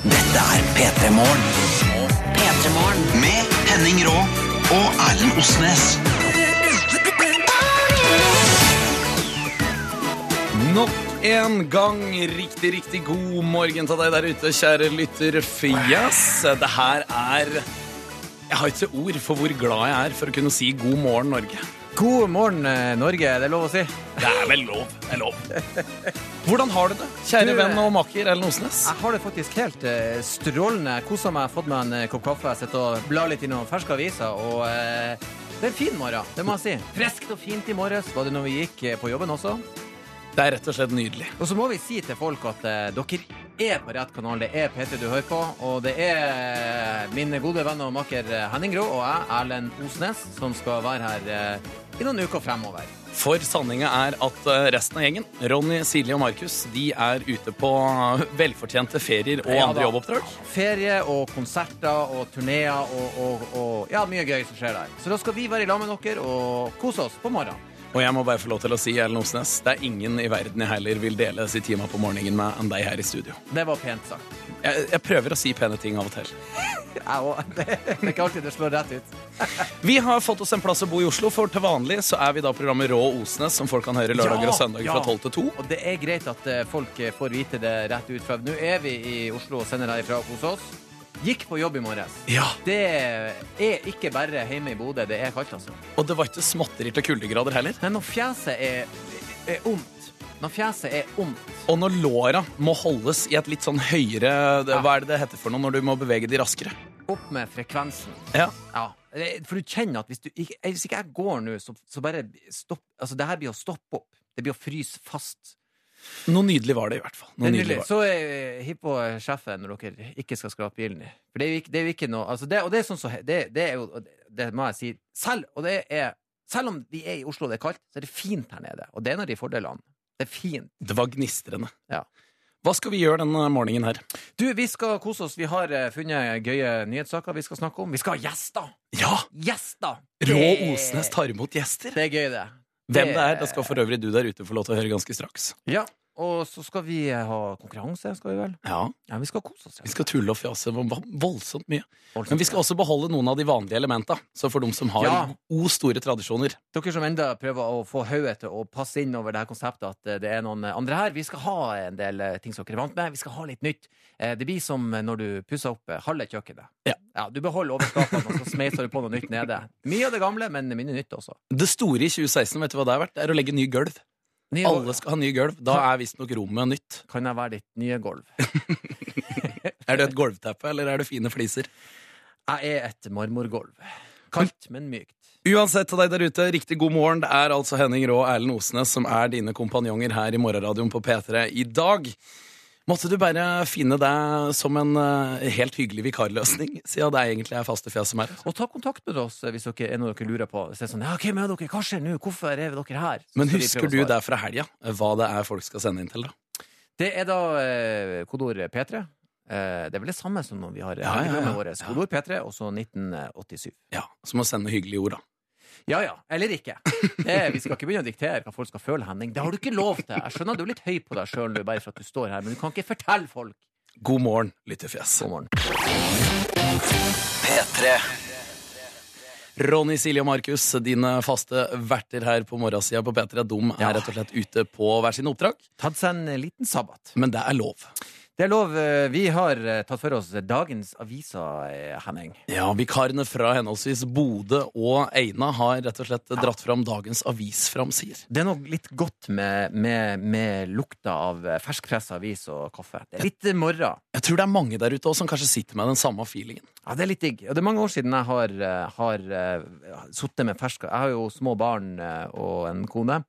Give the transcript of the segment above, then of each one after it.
Dette er P3 Morgen. Med Henning Rå og Erlend Osnes. Nok en gang riktig, riktig god morgen til deg der ute, kjære lytter. Fjas, det her er Jeg har ikke ord for hvor glad jeg er for å kunne si god morgen, Norge. God morgen, eh, Norge. Det er lov å si. Jeg Det er vel lov. Det er lov. Hvordan har du eh, det, kjære Du, venn og maker Ellen Osnes? har det faktisk helt eh, strålende. Jeg Koser meg, fått meg en eh, kopp kaffe. Jeg sitter og blar litt i noen ferske aviser. Og eh, det er en fin morgen, det må jeg si. Friskt og fint i morges var det når vi gikk eh, på jobben også. Det er rett og slett nydelig. Og så må vi si til folk at eh, dere er på rett kanal. Det er P3 du hører på. Og det er eh, min gode venn og makker eh, Henning Grå og jeg, Erlend Osnes, som skal være her eh, i noen uker fremover. For sanninga er at eh, resten av gjengen, Ronny, Silje og Markus, de er ute på eh, velfortjente ferier og Ja, da. andre jobboppdrag. Ferie og konserter og turneer og, og, og ja, mye gøy som skjer der. Så da skal vi være i lag med dere og kose oss på morgenen. Og jeg må bare få lov til å si, Ellen Osnes, det er ingen i verden jeg heller vil dele sitt time på morgenen med enn deg her i studio. Det var pent sagt. Jeg, jeg prøver å si pene ting av og til. Jeg òg. Det er ikke alltid det slår rett ut. Vi har fått oss en plass å bo i Oslo, for til vanlig så er vi da programmet Rå Osnes, som folk kan høre lørdager Ja, og søndager ja. fra 12 til 2. Og det er greit at eh, folk eh, får vite det rett ut fra Nå er vi i Oslo og sender deg ifra hos oss. Gikk på jobb i morges. Ja, Det er ikke bare hjemme i Bodø. Det er kaldt, altså. Og det var ikke småtterier til kuldegrader heller. Men når fjeset er, er ondt Når fjeset er ondt Og når låra må holdes i et litt sånn høyere Hva er det det heter for noe når du må bevege de raskere? opp med frekvensen Ja. Ja, det- for du kjenner at hvis, du, ikke- eh, hvis ikke jeg går nå, så, så bare stopp Altså, det her blir å stoppe opp. Det blir å fryse fast. Noe nydelig var det, i hvert fall. Noe Men nydelig nydelig. var det. Så eh, hiv på sjefen når dere ikke skal skrape bilen i. For det er jo ikke, det er jo ikke noe altså det, Og det er sånn så, det, det er jo og det- Det må jeg si. Selv, og det er, selv om vi er i Oslo og det er kaldt, så er det fint her nede. Og det er en av de fordelene. Det er fint. Det var gnistrende. Ja. Hva skal vi gjøre denne morgenen her? Du, vi skal kose oss. Vi har eh, funnet gøye nyhetssaker vi skal snakke om. Vi skal ha gjester! Ja! Gjester! Rå Det- Osnes tar imot gjester. Det er gøy, det. Hvem det er, det skal for øvrig du der ute få lov til å høre ganske straks. Ja, og så skal vi eh, ha konkurranse, skal vi vel? Ja, Ja, vi skal kose oss. Vi skal tulle og fjase voldsomt mye. Men vi skal også beholde noen av de vanlige elementa. Så for de som har Ja. o store tradisjoner. Dere som enda prøver å få hodet til å passe inn over det her konseptet at eh, det er noen eh, andre her, vi skal ha en del eh, ting som dere er vant med. Vi skal ha litt nytt. Eh, Det blir som eh, når du pusser opp eh, halve kjøkkenet. Ja. Du beholder overskapene, og så smeiser du på noe nytt nede. Mye av det gamle, men mye nytt også. Det store i 2016 vet du hva det er verdt? Det er å legge ny gulv. Nye Alle gulv. skal ha ny gulv. Da er visstnok rommet nytt. Kan jeg være ditt nye gulv? Er det et gulvteppe, eller er det fine fliser? Jeg er et marmorgulv. Kaldt, men mykt. Uansett til deg der ute, riktig god morgen. Det er altså Henning Rå og Erlend Osnes som er dine kompanjonger her i morgenradioen på P3 i dag. Måtte du bare finne deg som en eh, helt hyggelig vikarløsning, siden det egentlig er faste fjes som er her. Og ta kontakt med oss eh, hvis dere er noe dere lurer på. Hvis det er sånn, ja, hvem er dere? Hva skjer nå? Hvorfor er dere her? Så Men skal vi prøve husker å du svare. der fra helga hva det er folk skal sende inn til, da? Det er da eh, kodord P3. Eh, det er vel det samme som når vi har Ja, ja, ja, ja. programmet vårt. Ja. Kodord P3, og så 1987. Ja, Som å sende hyggelige ord, da. Ja ja, eller ikke. Det, vi skal ikke begynne å diktere hva folk skal føle, Henning. Det har du ikke lov til. Jeg skjønner du er litt høy på deg sjøl nå, bare for at du står her, men du kan ikke fortelle folk. God morgen, lyttefjes. God morgen. P3. Ronny, Silje og Markus, dine faste verter her på morgensida på P3, de er Ja. rett og slett ute på hver sine oppdrag. Tatt seg en liten sabbat. Men det er lov. Det er lov. eh, Vi har eh, tatt for oss dagens aviser, eh, Henning. Ja, Vikarene fra henholdsvis Bodø og Eina har rett og slett dratt fram dagens avisframsider. Det er noe litt godt med, med, med lukta av eh, ferskpressa avis og kaffe. Det er litt eh, morgen. Jeg tror det er mange der ute også som kanskje sitter med den samme feelingen. Ja, det er litt digg. Og det er mange år siden jeg har, eh, har eh, sittet med fersk Jeg har jo små barn eh, og en kone.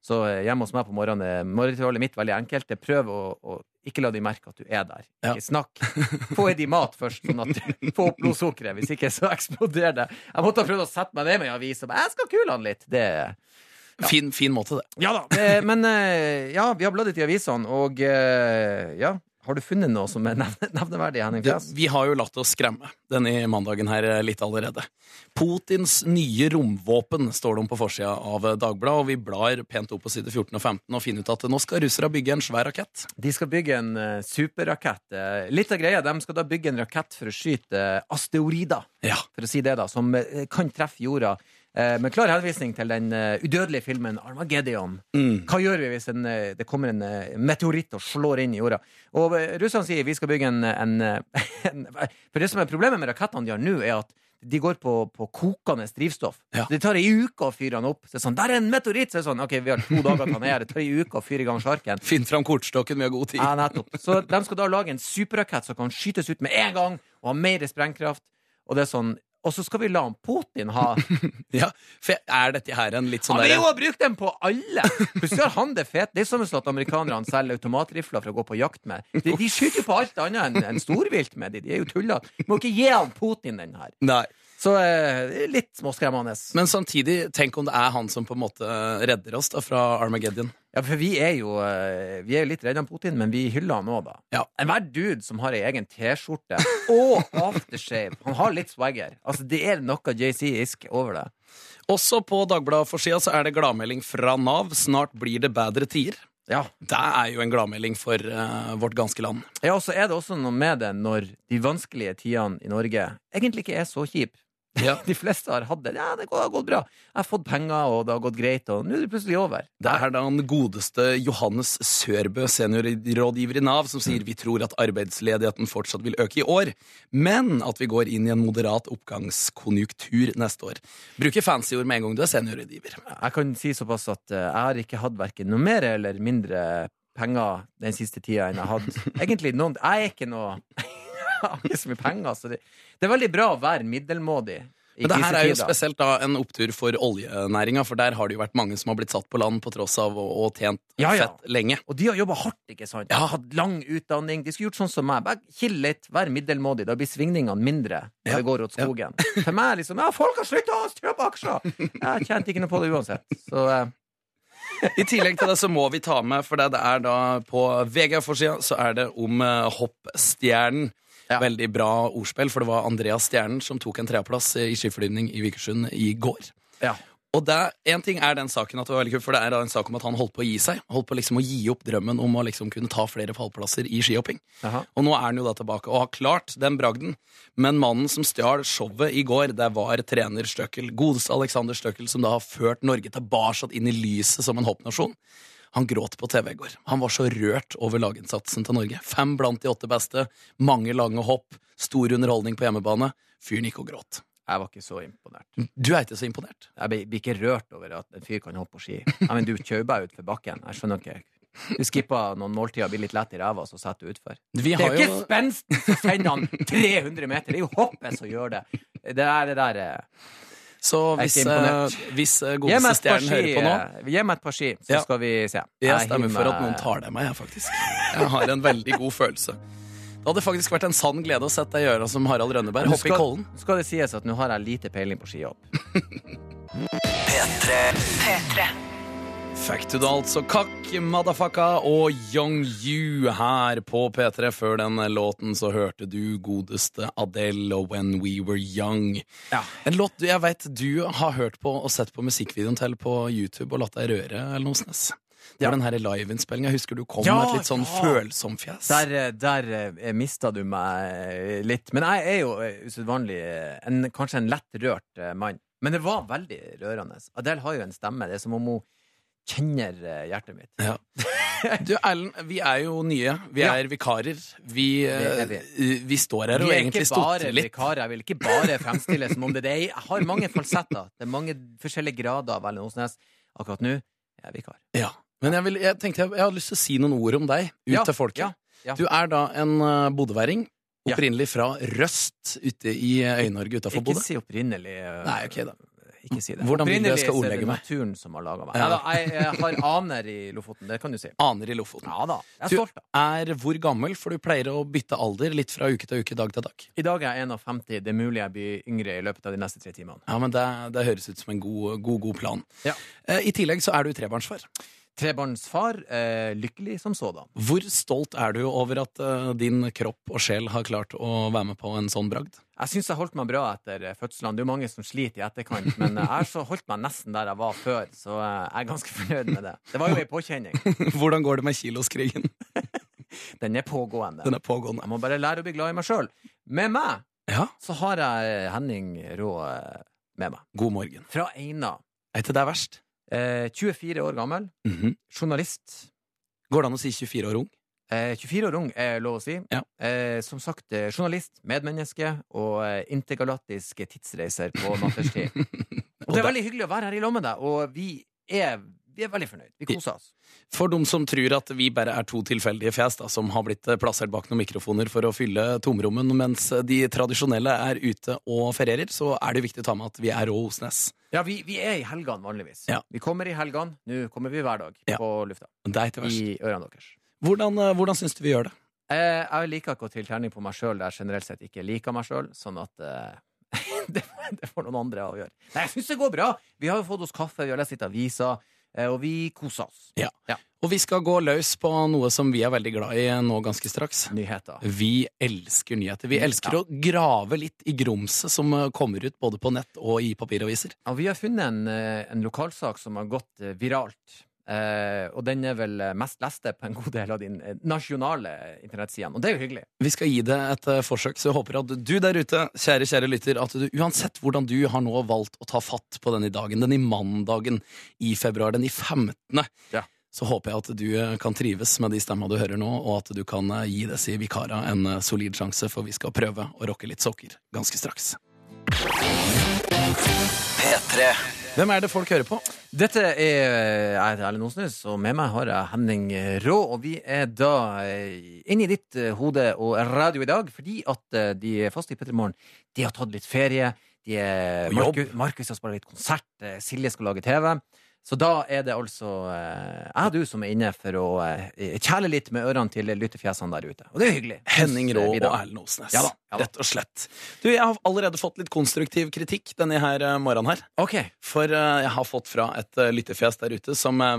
Så eh, hjemme hos meg på morgenen er morgenritualet mitt veldig enkelt. Det er prøv å, å ikke la de merke at du er der. Ja. Ikke snakk. Få i de mat først, sånn at du får opp blodsukkeret. Hvis ikke, så eksploderer det. Jeg måtte ha prøvd å sette meg ned med en avis og bare Jeg skal kule han litt. Det Fin, fin måte, det. Ja da. Men eh, ja, vi har bladd litt i avisene, og eh, ja. Har du funnet noe som er nevne- nevneverdig, Henning Det, Fjes? vi har jo latt oss skremme denne mandagen her eh, litt allerede. Putins nye romvåpen står det om på forsida av eh, Dagbladet, og vi blar pent opp på side 14 og 15 og finner ut at eh, nå skal russerne bygge en svær rakett. De skal bygge en eh, superrakett. Eh, litt av greia, de skal da bygge en rakett for å skyte eh, asteroider, Ja. for å si det, da, som eh, kan treffe jorda. Eh, med klar henvisning til den eh, udødelige filmen Armageddon. Mm. Hva gjør vi hvis en, eh, det kommer en eh, meteoritt og slår inn i jorda? Og eh, Russerne sier vi skal bygge en, en, eh, en For det som er problemet med rakettene de har nå, er at de går på, på kokende drivstoff. Ja. Det tar ei uke å fyre den opp. Så det er sånn, Der er en meteoritt! Så det er sånn, ok, vi har to dager til han er her. Det tar ei uke å fyre i gang sjarken. Finn fram kortstokken, vi har god tid. Ja, nettopp. Så de skal da lage en superrakett som kan skytes ut med en gang, og ha mer sprengkraft. Og det er sånn Og så skal vi la han Putin ha sånn Ja, for er dette her en litt sånn Han vil jo der ha brukt den på alle! Plutselig har han det fett. Det er som at amerikanerne selger automatrifler for å gå på jakt med. De, de skyter jo på alt annet enn enn storvilt med de. De er jo tullete. Må ikke gi han Putin den her. Nei. Så eh, det er litt småskremmende. Men samtidig, tenk om det er han som på en måte eh, redder oss da fra Armageddon. Ja, for vi er jo eh, Vi er jo litt redde av Putin, men vi hyller han òg, da. Ja. Enhver dude som har ei egen T-skjorte og aftershave, han har litt swagger. Altså, det er noe JC-isk over det. Også på Dagbladet-forsida så er det gladmelding fra Nav. Snart blir det bedre tider. Ja. Det er jo en gladmelding for eh, vårt ganske land. ja, og så er det også noe med det når de vanskelige tidene i Norge egentlig ikke er så kjipe. Ja. De fleste har hatt det. Ja, det går- det har gått bra. Jeg har fått penger, og det har gått greit, og nå er det plutselig over. Det er da den godeste Johannes Sørbø, seniorrådgiver i Nav, som sier vi tror at arbeidsledigheten fortsatt vil øke i år, men at vi går inn i en moderat oppgangskonjunktur neste år. Bruker fancy ord med en gang du er seniorrådgiver. Jeg kan si såpass at eh, jeg har ikke hatt hverken noe mer eller mindre penger den siste tida enn jeg hadde. Egentlig noen Jeg er ikke noe Jeg har ikke så mye penger, så det, det er veldig bra å være middelmådig i Men det her er jo krisetider. spesielt da en opptur for oljenæringa, for der har det jo vært mange som har blitt satt på land på tross av å, å tjent Ja, ja. fett lenge. Og de har jobba hardt, ikke sant? De har hatt lang utdanning. De skulle gjort sånn som meg. Bare kill litt, vær middelmådig. Da blir svingningene mindre når Ja. det går åt skogen. For meg er liksom Ja, folk har slutta å kjøpe aksjer! Jeg tjente ikke noe på det uansett. Så eh, I tillegg til det så må vi ta med, for det det er da på VG-forsida, så er det om eh, hoppstjernen. Ja. Veldig bra ordspill, for det var Andreas Stjernen som tok en treplass i skiflygning i Vikersund i går. ja. Og det, en ting er den saken at det var veldig kult, for det er da en sak om at han holdt på å gi seg. Holdt på liksom å gi opp drømmen om å liksom kunne ta flere pallplasser i skihopping. Aha. Og nå er han jo da tilbake og har klart den bragden. Men mannen som stjal showet i går, det var trener Støkkel. Godeste Alexander Støkkel, som da har ført Norge tilbake inn i lyset som en hoppnasjon. Han gråt på TV i går. Han var så rørt over laginnsatsen til Norge. Fem blant de åtte beste, mange lange hopp, stor underholdning på hjemmebane. Fyren gikk og gråt. Jeg var ikke så imponert. Du er ikke så imponert? Jeg blir- blir ikke rørt over at en fyr kan hoppe på ski. Ja, men du kjauba utfor bakken. Jeg skjønner ikke. Du skippa noen måltider, blir litt lett i ræva, så setter du utfor. Vi Det er har jo jo ikke spensten som sender han 300 meter, det er jo hoppet som gjør det. Det er det der eh, Så hvis, Jeg er ikke imponert. eh, hvis eh, Gi meg godeste et par stjernen hører på nå ski, eh, gi meg et par ski, så Ja. skal vi se. Jeg stemmer for at noen tar det meg, jeg, faktisk. Jeg har en veldig god følelse. Det hadde faktisk vært en sann glede å sette deg i øra som Harald Rønneberg. Hoppe i kollen. Skal det sies at nå har jeg lite peiling på skihopp. Fact to the altså. Kakk, motherfucka og Young You her på P3. Før den låten så hørte du godeste Adele og When We Were Young. Ja. En låt du- jeg veit du har hørt på og sett på musikkvideoen til på YouTube og latt deg røre, eller noe sånt. Det var den her liveinnspillinga. Husker du kom Ja, med et litt sånn ja. følsom fjes? Der, eh, der eh, mista du meg eh, litt. Men jeg er jo eh, usedvanlig eh, en, kanskje en lett rørt eh, mann. Men det var veldig rørende. Adele har jo en stemme. Det er som om hun kjenner eh, hjertet mitt. Ja. Du, Erlend, vi er jo nye. Vi Ja. er vikarer. Vi, er vi. eh, vi står her Vi og er egentlig ikke bare stotrer litt. vikarer. Jeg vil ikke bare fremstille som om det det er Jeg har mange falsetter. Det er mange forskjellige grader av Ellen Osnes. Akkurat nå er jeg vikar. Ja. Men jeg, vil, jeg tenkte jeg, jeg hadde lyst til å si noen ord om deg ut Ja, til folket. ja, ja. Du er da en uh, bodøværing, Ja. opprinnelig fra Røst ute i eh, Øy-Norge utafor Ikke Bodø. si opprinnelig. eh, Nei, ok da. Ikke si det. Hvordan vil du jeg skal Opprinnelig så er det ordlegge meg? naturen som har laga meg. Ja. Nei da, jeg, jeg har aner i Lofoten, det kan du si. Aner i Lofoten. Ja da. Jeg er Du stolt, da. er hvor gammel, for du pleier å bytte alder litt fra uke til uke, dag til dag. I dag er jeg 51. Det er mulig jeg blir yngre i løpet av de neste tre timene. Ja, men Det, det høres ut som en god, god, god plan. Ja. Eh, I tillegg så er du trebarnsfar. Trebarnsfar, eh, lykkelig som sådan. Hvor stolt er du over at eh, din kropp og sjel har klart å være med på en sånn bragd? Jeg syns jeg holdt meg bra etter eh, fødselen. Det er jo mange som sliter i etterkant, men eh, jeg har så holdt meg nesten der jeg var før, så eh, jeg er ganske fornøyd med det. Det var jo ei påkjenning. Hvordan går det med kiloskrigen? Den er pågående. Den er pågående. Jeg må bare lære å bli glad i meg sjøl. Med meg Ja, så har jeg eh, Henning Rå eh, med meg. god morgen. Fra Eina. Er ikke det verst? Eh, 24 år gammel. Mhm. Journalist. Går det an å si 24 år ung? Eh, 24 år ung er lov å si. Ja. Eh, som sagt, eh, journalist, medmenneske og eh, intergalaktiske tidsreiser på natterstid. og det er veldig hyggelig å være her i lag med deg, og vi er, vi er veldig fornøyd. Vi koser oss. For de som tror at vi bare er to tilfeldige fjes da, som har blitt eh, plassert bak noen mikrofoner for å fylle tomrommen, mens de tradisjonelle er ute og ferierer, så er det jo viktig å ta med at vi er rå Osnes. Ja, vi, vi er i helgene vanligvis. Ja. Vi kommer i helgene. Nå kommer vi hver dag Ja. på lufta. Det er ikke verst. I ørene deres. Hvordan, eh, hvordan syns du vi gjør det? Eh, jeg liker ikke å trille terning på meg sjøl der jeg generelt sett ikke liker meg sjøl, sånn at eh, det, får- det får noen andre å gjøre. Nei, jeg syns det går bra! Vi har jo fått oss kaffe, vi har lest litt aviser, eh, og vi koser oss. Og vi skal gå løs på noe som vi er veldig glad i eh, nå ganske straks. Nyheter. Vi elsker nyheter. Vi elsker Ja. å grave litt i grumset som eh, kommer ut både på nett og i papiraviser. Ja, vi har funnet en, eh, en lokalsak som har gått eh, viralt. Eh, og den er vel eh, mest leste på en god del av de eh, nasjonale internettsidene. Og det er jo hyggelig. Vi skal gi det et eh, forsøk, så jeg håper at du der ute, kjære, kjære lytter, at du uansett hvordan du har nå valgt å ta fatt på denne dagen, den i mandagen i februar, den i 15., Ja. så håper jeg at du eh, kan trives med de stemma du hører nå, og at du kan eh, gi disse vikara en eh, solid sjanse, for vi skal prøve å rocke litt sokker ganske straks. P3. Hvem er det folk hører på? Dette er Jeg heter Erlend Osnes, og med meg har jeg Henning Rå. Og vi er da eh, inne i ditt eh, hode og radio i dag, fordi at eh, de faste i P3 Morgen de har tatt litt ferie. De er Og Marku- Markus skal spille litt konsert. eh, Silje skal lage TV. Så da er det altså eh, jeg og du som er inne for å eh, kjæle litt med ørene til lyttefjesene der ute. Og det er hyggelig. Henning Rå Synes eh, vi og da. Erlend Osnes. Ja da, ja da. Rett og slett. Du, jeg har allerede fått litt konstruktiv kritikk denne her eh, morgenen her. Ok. For eh, jeg har fått fra et eh, lyttefjes der ute som eh,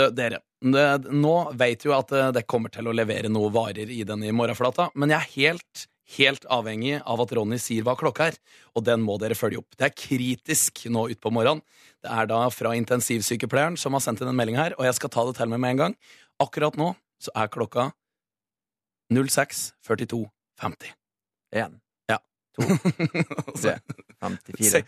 det, Dere, det, nå vet jo at eh, det kommer til å levere noe varer i den i morgenflata, men jeg er helt, helt avhengig av at Ronny sier hva klokka er, og den må dere følge opp. Det er kritisk nå utpå morgenen. Det er da fra intensivsykepleieren som har sendt inn en melding her, og jeg skal ta det til meg med en gang. Akkurat nå så er klokka 06.42,50. Én, Så- Tre, femtifire.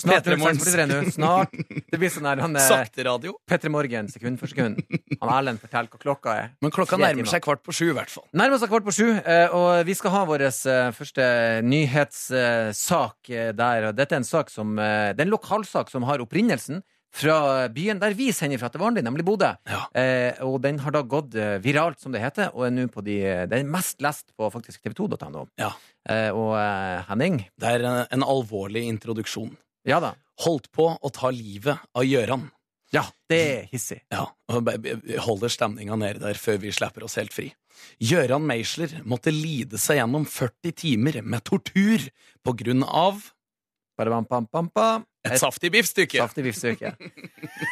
Snart Petre Morgens. 06.43 nå. Snart. Det blir sånn her han eh, Sakte radio. Petter Morgen sekund for sekund. Han Erlend forteller hva klokka er. Men klokka Tre nærmer timer. seg kvart på sju, i hvert fall. Nærmer seg kvart på sju, eh, og vi skal ha vår eh, første nyhetssak eh, der. og Dette er en sak som eh, Det er en lokalsak som har opprinnelsen fra byen der vi sender fra til vanlig, nemlig Bodø. Ja. Eh, og den har da gått eh, viralt, som det heter, og er nå på de eh, Den er mest lest på faktisk tv2.no. Ja. Eh, og eh, Henning Det er eh, en alvorlig introduksjon. Ja da. Holdt på å ta livet av Gjøran. Ja, det er hissig. Ja, og b- b- holder stemninga nede der før vi slipper oss helt fri. Gjøran Meisler måtte lide seg gjennom 40 timer med tortur på grunn av Bare bam, bam, bam, bam. et saftig biffstykke. Saftig biffstykke.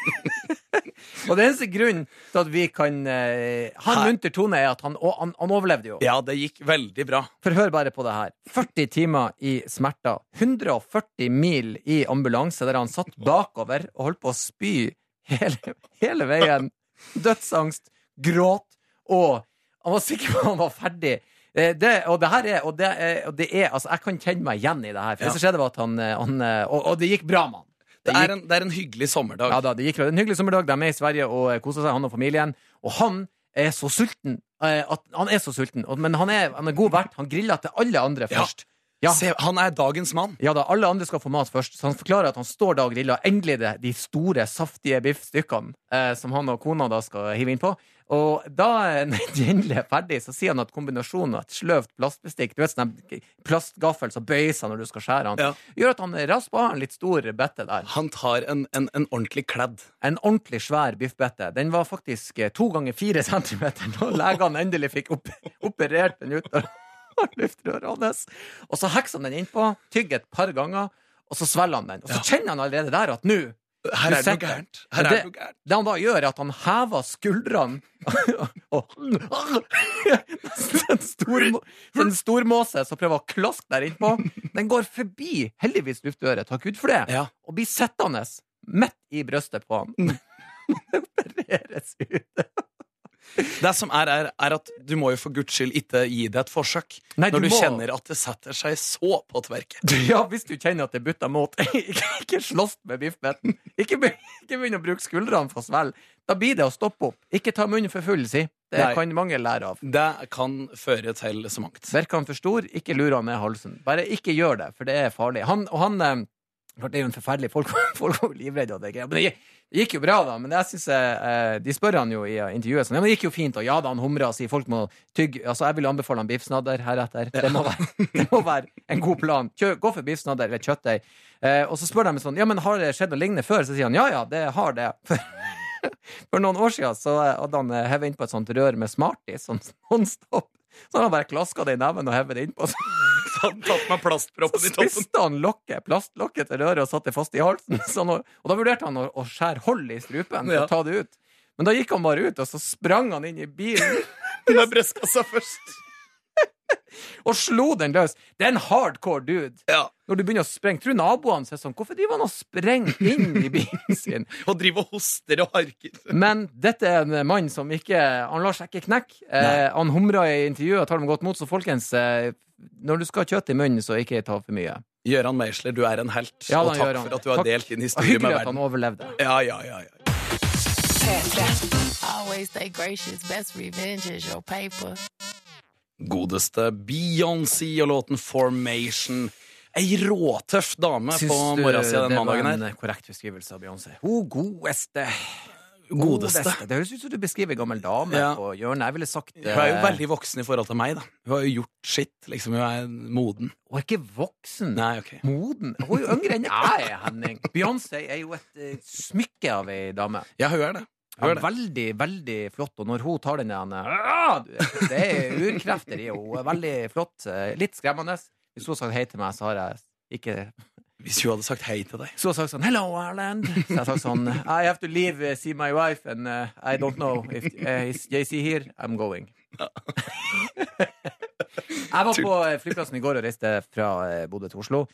og den eneste grunnen til at vi kan eh, ha en Her. munter tone, er at han, og, han, han overlevde jo. Ja, det gikk veldig bra. For hør bare på det her. 40 timer i smerter. 140 mil i ambulanse, der han satt bakover og holdt på å spy hele, hele veien. Dødsangst, gråt, og han var sikker på at han var ferdig. Eh, Det, og det her er, og det er, og det er Altså, jeg kan kjenne meg igjen i det her. For Ja. det som skjedde, var at han, eh, han eh, og, og det gikk bra med han. Det gikk er en, det er en hyggelig sommerdag. ja da, det gikk bra. Det er en hyggelig sommerdag. De er med i Sverige og eh, koser seg, han og familien. Og han er så sulten. eh, At han er så sulten og- Men han er, han er god vert. Han griller til alle andre Ja. først. Ja. Se, han er dagens mann. Ja da, alle andre skal få mat først, så han forklarer at han står da og griller endelig det, de store, saftige biffstykkene eh, som han og kona da skal hive inn på. Og da eh, når de endelig er ferdig, så sier han at kombinasjonen av et sløvt plastbestikk, du vet sånn en plastgaffel som bøyer seg når du skal skjære han, Ja. gjør at han rasper av en litt stor bette der. Han tar en, en, en ordentlig kledd. En ordentlig svær biffbette. Den var faktisk eh, to ganger fire centimeter da legene endelig fikk opp, operert den ut av luftrøret hans. Og så hekser han den innpå, tygger et par ganger, og så svelger han den. Og så kjenner han allerede der at nå Her er det noe setter- gærent. Her er det noe gærent. Det han da gjør, er at han hever skuldrene og En stor, må- en stor måse som prøver å klaske der innpå. Den går forbi, heldigvis, luftøret, takk Gud for det, Ja. Mm. og blir sittende midt i brystet på han. Det opereres ut. Det som er, er, er at du må jo for guds skyld ikke gi det et forsøk Nei, når du må- kjenner at det setter seg så på tverket. Ja, hvis du kjenner at det butter mot. Ikke, ikke slåss med biffbeten. Ikke, be- ikke begynn å bruke skuldrene for svelg. Da blir det å stoppe opp. Ikke ta munnen for full, si. Det Nei. kan mange lære av. Det kan føre til så mangt. Sverker han for stor, ikke lur han ned halsen. Bare ikke gjør det, for det er farlig. Han, og han eh, klart, Det er jo en forferdelig Folk, folk var jo livredde. Og det, greia. men det gikk- det gikk jo bra, da. Men jeg synes, eh, de spør han jo i eh, intervjuet. Sånn, ja, men det gikk jo fint, og ja da, han humrer og sier folk må tygge Altså, jeg vil anbefale han biffsnadder heretter. Det må være, det må være en god plan. Kjø, gå for biffsnadder eller kjøttdeig. Eh, og så spør de sånn Ja, men har det skjedd noe lignende før? Så sier han ja, ja, det har det. For noen år siden så eh, hadde han hevet innpå et sånt rør med Smarties sånn nonstop. Så hadde han bare klaska det i neven og hevet det innpå. Så Så hadde han tatt meg plastproppen i toppen. spiste han lokket, plastlokket til røret og satte det fast i halsen. Så han, og da vurderte han å, å skjære hold i strupen for Ja. å ta det ut. Men da gikk han bare ut, og så sprang han inn i bilen Men jeg breska seg først. og slo den løs. Det er en hardcore dude. Ja, Når du begynner å sprenge, tror naboene seg sånn Hvorfor driver han og sprenger inn i bilen sin? Og driver og hoster og harker. Men dette er en mann som ikke Han lar seg ikke knekke. Eh, han humrer i intervjuet og tar dem godt mot, så folkens eh, når du skal ha kjøtt i munnen, så ikke ta for mye. Gøran Meisler, du er en helt. Ja, og da, takk Gøran. for at du har Takk. delt din historie med Hyggelig at han verden. overlevde. Ja, ja, ja, ja. Always stay gracious. Best revenge is your paper. Godeste Beyoncé og låten Formation. Ei råtøff dame på morgensida den mandagen Det her. var en korrekt beskrivelse av Beyoncé. Ho godeste. Godeste. Det høres ut som du beskriver en gammel dame Ja. på hjørnet. Jeg ville sagt Hun er jo eh, veldig voksen i forhold til meg, da. Hun har jo gjort sitt. Liksom, hun er moden. Hun er ikke voksen. Nei, ok. Moden. Hun er jo yngre enn jeg er, Henning. Beyoncé er jo et eh, smykke av ei dame. Ja, hun er det. Hun Ja, er det. veldig, veldig flott. Og når hun tar den der «Ah!» Det er urkrefter i henne. Hun er veldig flott. eh, Litt skremmende. Hvis hun har sagt hei til meg, så har jeg ikke Hvis hun hadde sagt hei til deg. Så har hun sagt sånn Hello, Ireland. Så jeg har sagt sånn I have to leave, eh, see my wife, and eh, I don't know if eh, is JC here. I'm going. jeg var på eh, flyplassen i går og reiste fra eh, Bodø til Oslo.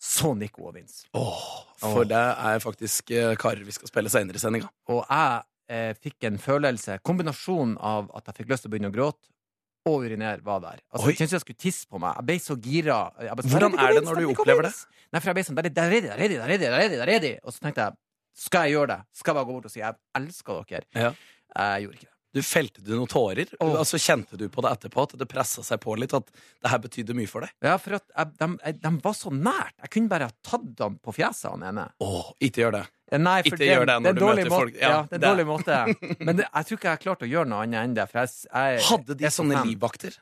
Så Nico og Vince. Åh, for det er faktisk eh, karer vi skal spille seinere i sendinga. Og jeg eh, fikk en følelse Kombinasjonen av at jeg fikk lyst til å begynne å gråte og urinere var der. Altså, Oi. jeg syntes jeg skulle tisse på meg. Jeg ble så gira. Jeg ble sånn, Hvordan «Kom er det inn, når du kom inn, kom opplever inn!» det? Nei, for jeg ble sånn Der er der er de, der er de, der er de, der er de, der er de. Og så tenkte jeg, skal jeg gjøre det? Skal jeg bare gå bort og si jeg elsker dere? Ja. Jeg gjorde ikke det. Du felte du noen tårer? Åh. Altså, kjente du på det etterpå? At det pressa seg på litt? At det her betydde mye for deg? Ja, for at jeg, de, jeg- de var så nært. Jeg kunne bare ha tatt dem på fjeset, han ene. Eh, Åh, ikke gjør det. Nei, Ikke for det, gjør det når det er en du dårlig møter måte- folk. Ja, Ja, det er en dårlig måte. Men det, jeg tror ikke jeg har klart å gjøre noe annet enn det. For jeg, jeg, Hadde jeg de er så sånne fan. livvakter?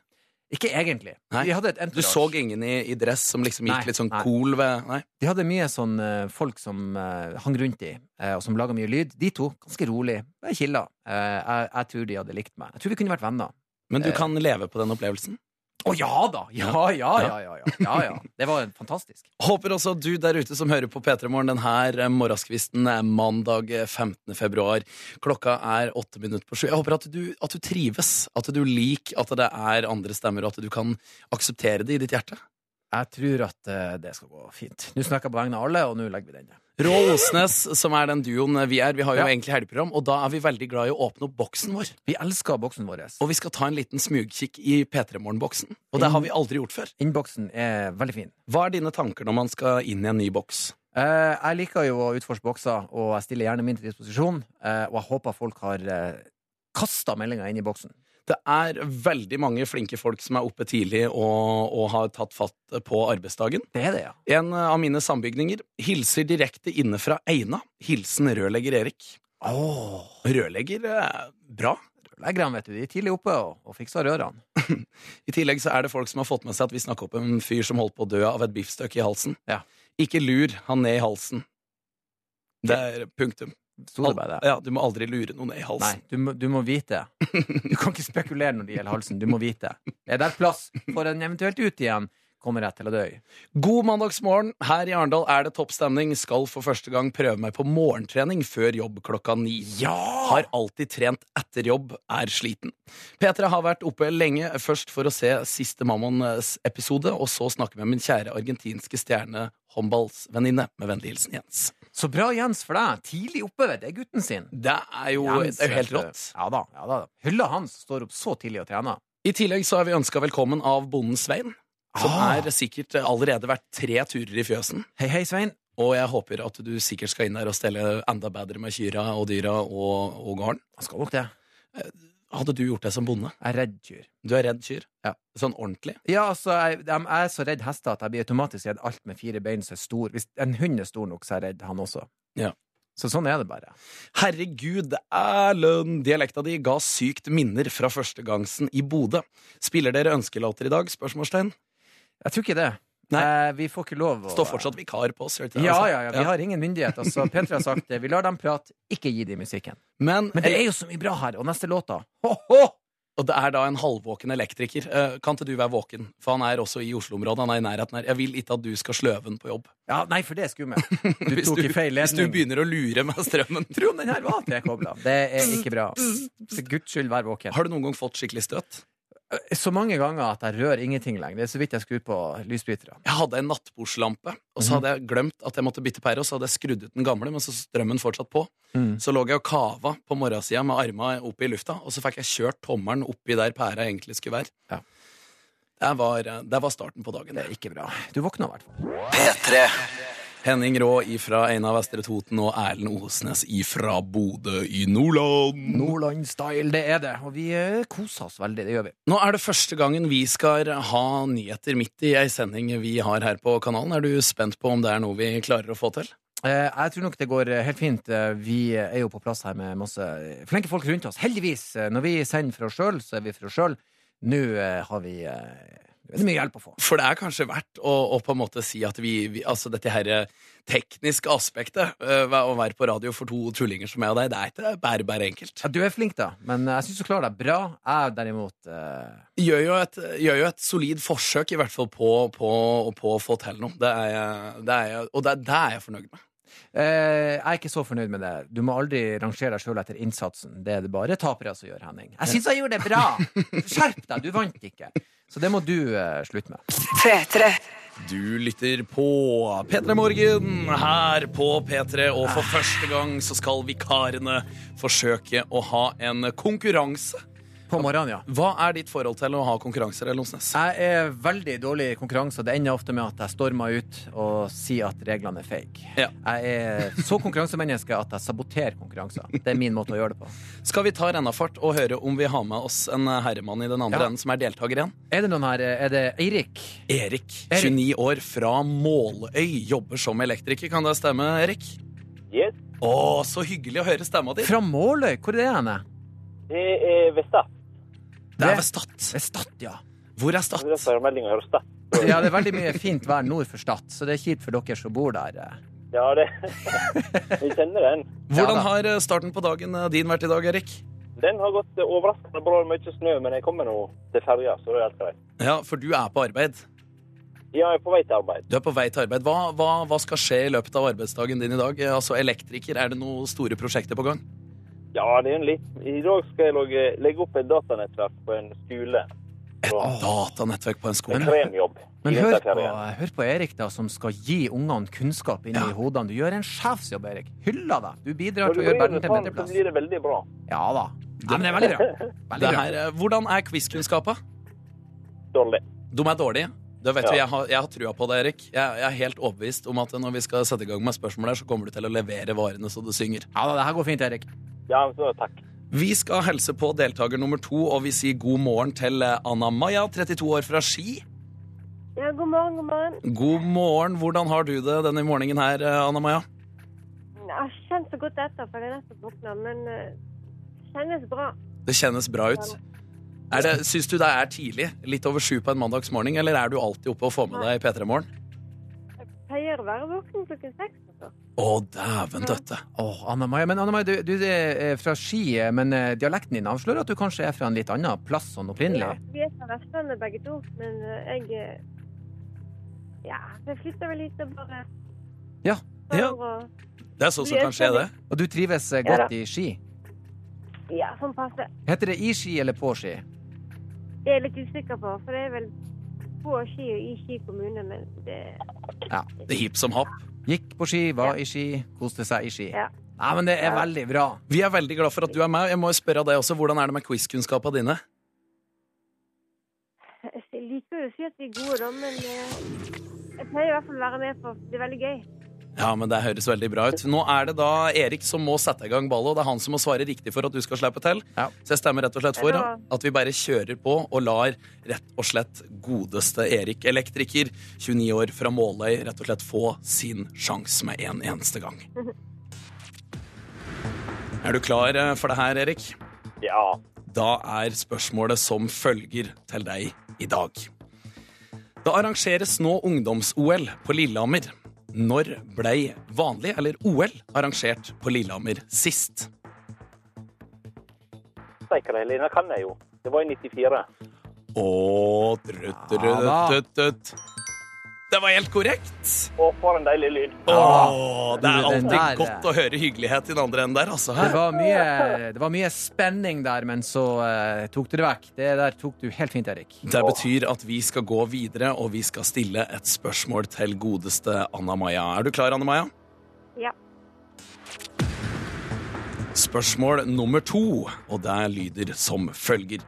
Ikke egentlig. Nei. De hadde et Du entourage. så ingen i, i dress som liksom gikk Nei, litt sånn nei. cool ved Nei? De hadde mye sånn eh, folk som eh, hang rundt de, eh, og som laga mye lyd. De to, ganske rolig. Jeg killa. Eh, jeg, jeg tror de hadde likt meg. Jeg tror vi kunne vært venner. Men du Eh. kan leve på den opplevelsen? Å ja da! Ja, ja, ja, ja, ja, ja, ja. Det var fantastisk. Håper også at du der ute som hører på P3 Morgen denne morgenskvisten eh, mandag eh, 15. februar. Klokka er åtte minutter på sju. Jeg håper at du, at du trives, at du liker at det er andre stemmer, og at du kan akseptere det i ditt hjerte. Jeg tror at eh, det skal gå fint. Nå snakker jeg på vegne av alle, og nå legger vi den der. Rå Osnes, som er den duoen vi er, vi har jo Ja. egentlig helgeprogram, og da er vi veldig glad i å åpne opp boksen vår. Vi elsker boksen vår. Og vi skal ta en liten smugkikk i P3 Morgen-boksen. Og det har vi aldri gjort før. Innboksen er veldig fin. Hva er dine tanker når man skal inn i en ny boks? Eh, jeg liker jo å utforske bokser, og jeg stiller gjerne min til disposisjon. eh, og jeg håper folk har uh, kasta meldinga inn i boksen. Det er veldig mange flinke folk som er oppe tidlig og, og har tatt fatt på arbeidsdagen. Det er det, ja. En av mine sambygninger hilser direkte inne fra Eina. Hilsen rørlegger Erik. Oh. Rørlegger eh, bra. Leggerne, vet du, de er tidlig oppe og, og fikser rørene. I tillegg så er det folk som har fått med seg at vi snakker opp en fyr som holdt på å dø av et biffstykke i halsen. Ja. Ikke lur han ned i halsen. Det er punktum. Sto det bare det? Ja, du må aldri lure noen ned i Nei, halsen. du må, du må vite. Du kan ikke spekulere når det gjelder halsen. Du må vite. Er det plass for en eventuelt ut igjen? kommer jeg til å dø i. God mandagsmorgen. Her i Arendal er det toppstemning. Skal for første gang prøve meg på morgentrening før jobb klokka ni. Har alltid trent etter jobb, er sliten. Petra har vært oppe lenge, først for å se siste Mammons episode, og så snakke med min kjære argentinske stjerne håndballsvenninne. Med vennlig hilsen Jens. Så bra, Jens, for deg. Tidlig oppe, vet du. Det er gutten sin. Det er jo, Jens, det er jo helt vet du. rått. Ja da. ja da. Hylla han som står opp så tidlig og trener. I tillegg så har vi ønska velkommen av bonden Svein. Som Ah. er sikkert allerede vært tre turer i fjøsen. Hei, hei, Svein. Og jeg håper at du sikkert skal inn der og stelle enda bedre med kyra og dyra og, og gården. Han skal nok det. Hadde du gjort det som bonde? Jeg er redd kyr. Du er redd kyr? Ja. Sånn ordentlig? Ja, altså, jeg, jeg er så redd hester at jeg blir automatisk redd alt med fire bein som er stor. Hvis en hund er stor nok, så er jeg redd han også. Ja. Så sånn er det bare. Herregud, Erlend! Dialekta di ga sykt minner fra førstegangsen i Bodø. Spiller dere ønskelåter i dag? Spørsmålstegn. Jeg tror ikke det. Nei. Eh, vi får ikke lov å Står fortsatt vikar på oss. gjør det ikke det, Ja, altså? ja, ja. Vi har ingen myndighet. Altså, Petra har sagt det. Vi lar dem prate, ikke gi dem musikken. Men, Men det er jo så mye bra her. Og neste låt, da. Ho, ho! Og det er da en halvvåken elektriker. Eh, Kan ikke du være våken? For han er også i Oslo-området. Han er i nærheten her. Jeg vil ikke at du skal sløve den på jobb. Ja, nei, for det er skummelt. Du Hvis tok i feil Hvis du ledning. begynner å lure med strømmen. Trond, den her var trekobla. Det er ikke bra. For guds skyld, vær våken. Har du noen gang fått skikkelig støt? Så mange ganger at jeg rører ingenting lenger. Det er så vidt jeg skrur på lysbryterne. Jeg hadde en nattbordslampe, og Mhm. så hadde jeg glemt at jeg måtte bytte pære, og så hadde jeg skrudd ut den gamle, men så strømmen fortsatt på. Mm. Så lå jeg og kava på morgensida med arma oppe i lufta, og så fikk jeg kjørt tommelen oppi der pæra egentlig skulle være. Ja. Det var, eh, det var starten på dagen. Det er ikke bra. Du våkna i hvert fall. P3. Henning Rå ifra Eina Vestre Toten og Erlend Osnes ifra Bodø i Nordland. Nordland-style, det er det. Og vi eh, koser oss veldig. Det gjør vi. Nå er det første gangen vi skal ha nyheter midt i ei sending vi har her på kanalen. Er du spent på om det er noe vi klarer å få til? Eh, Jeg tror nok det går eh, helt fint. Eh, Vi er jo på plass her med masse flinke folk rundt oss. Heldigvis. Eh, Når vi sender for oss sjøl, så er vi for oss sjøl. Nå eh, har vi eh, Det er mye hjelp å få. For det er kanskje verdt å, å på en måte si at vi, vi Altså dette her tekniske aspektet, øh, å være på radio for to tullinger som meg og deg, det er ikke bare bare enkelt. Ja, du er flink, da, men eh, jeg syns du klarer deg bra. Jeg derimot eh, Gjør jo et, gjør jo et solid forsøk, i hvert fall, på, på, på å få til noe. Det er jeg, det er jeg, og det, det er jeg fornøyd med. Eh, jeg er ikke så fornøyd med det. Du må aldri rangere deg sjøl etter innsatsen. Det er det bare tapere som gjør, Henning. Jeg syns jeg gjorde det bra! Skjerp deg, du vant ikke. Så det må du eh, slutte med. Du lytter på P3 Morgen her på P3, og for første gang så skal vikarene forsøke å ha en konkurranse. På morgenen, ja. Hva er ditt forhold til å ha konkurranser, Lonsnes? Jeg er veldig dårlig i konkurranse, og det ender ofte med at jeg stormer ut og sier at reglene er fake. Ja. Jeg er så konkurransemenneske at jeg saboterer konkurranser. Det er min måte å gjøre det på. Skal vi ta rennafart og høre om vi har med oss en eh, herremann i den andre Ja. enden som er deltaker igjen? Er det noen her Er det Eirik? Erik, Erik. 29 år, fra Måløy, jobber som elektriker. Kan det stemme, Erik? Yes, Å, så hyggelig å høre stemma di. Fra Måløy? Hvor er det henne? det er ved Stad. Det er ved Stad. Det er Stad, ja. Hvor er Det er Stad? derfor meldinga hører Stad. Ja, det er veldig mye fint vær nord for Stad, så det er kjipt for dere som bor der. eh. Ja, det Vi kjenner den. Hvordan da. har eh, starten på dagen eh, din vært i dag, Erik? Den har gått eh, overraskende bra med mye snø, men jeg kommer nå til ferja, så det er helt greit. Ja, for du er på arbeid. Ja, jeg er på vei til arbeid. Du er på vei til arbeid. Hva, hva, hva skal skje i løpet av arbeidsdagen din i dag? Eh, Altså, elektriker, er det noen store prosjekter på gang? Ja, det er en litt I dag skal jeg logge, legge opp et datanettverk på en skole. Så Datanettverk på en skole. en kremjobb. Men i hør på, vinterferien. hør på Erik, da, som skal gi ungene kunnskap inni Ja. hodene. Du gjør en sjefsjobb, Erik. Hylla deg. Du bidrar til Når du å gjøre går inn verden i til en faen, bedre så plass. blir det veldig bra. Ja da. Nei, men det er veldig bra. Veldig Det bra. her, eh, hvordan er quizkunnskapa? Dårlig. De er dårlige. Du vet jo, Ja. jeg, har, jeg har trua på det, Erik. Jeg, jeg er helt overbevist om at når vi skal sette i gang med spørsmål her, så kommer du til å levere varene så det synger. Ja da, det her går fint, Erik. Ja, så takk. Vi skal helse på deltaker nummer to, og vi sier god morgen til eh, Anna Maja, 32 år fra Ski. Ja, god morgen, god morgen. God morgen. Hvordan har du det denne morgenen her, eh, Anna Maja? Jeg har ikke kjent så godt etter, for jeg er nettopp våkna, men eh, kjennes bra. Det kjennes bra ut. Er det, syns du det er tidlig? Litt over sju på en mandagsmorgen? Eller er du alltid oppe og får med deg P3 Morgen? Pleier å være våken klokken seks. Altså. Å, dæven døtte. Åh, Anna Maja. Men Anna Maja, du, du er fra Ski, men eh, dialekten din avslører at du kanskje er fra en litt annen plass sånn opprinnelig. Vi er fra Vestlandet begge to, men eh, jeg eh, Ja, jeg flytter vel hit og bare Ja. Ja. prøver å Det er sånn som kan skje, det. Og du trives eh, Ja da. godt i ski. Ja, sånn passe. Heter det i ski eller på ski? Det er jeg litt usikker på, for det er vel på Ski og i Ski kommune, men det Det er hip som happ. Gikk på ski, var i ski, koste seg i ski. Ja. Nei, men det er Ja. veldig bra. Vi er veldig glad for at du er med. Jeg må jo spørre deg også, Hvordan er det med quizkunnskapene dine? Jeg liker jo å si at vi er gode, da, men eh, jeg pleier i hvert fall å være med på Det er veldig gøy. Ja, men Det høres veldig bra ut. Nå er det da Erik som må sette i gang ballet, og det er han som må svare riktig for at du skal slippe til. Ja. Så jeg stemmer rett og slett for Ja. at vi bare kjører på og lar rett og slett godeste Erik, elektriker, 29 år fra Måløy, rett og slett få sin sjanse med en eneste gang. Er du klar eh, for det her, Erik? Ja. Da er spørsmålet som følger til deg i dag. Det arrangeres nå ungdoms-OL på Lillehammer. Når blei vanlig, eller OL, arrangert på Lillehammer sist? Steikere, Helene, kan jeg jo. Det var i 94. Å, drøtt, Ja drøtt, da. drøtt, drøtt. Det var helt korrekt! Å, for en deilig lyd. Å, det er Den alltid der, godt å høre hyggelighet i den andre enden der, altså. Det hæ? var mye, det var mye spenning der, men så eh, tok du det vekk. Det der tok du helt fint, Erik. Det betyr at vi skal gå videre, og vi skal stille et spørsmål til godeste Anna Maja. Er du klar, Anna Maja? Ja. Spørsmål nummer to, og det lyder som følger.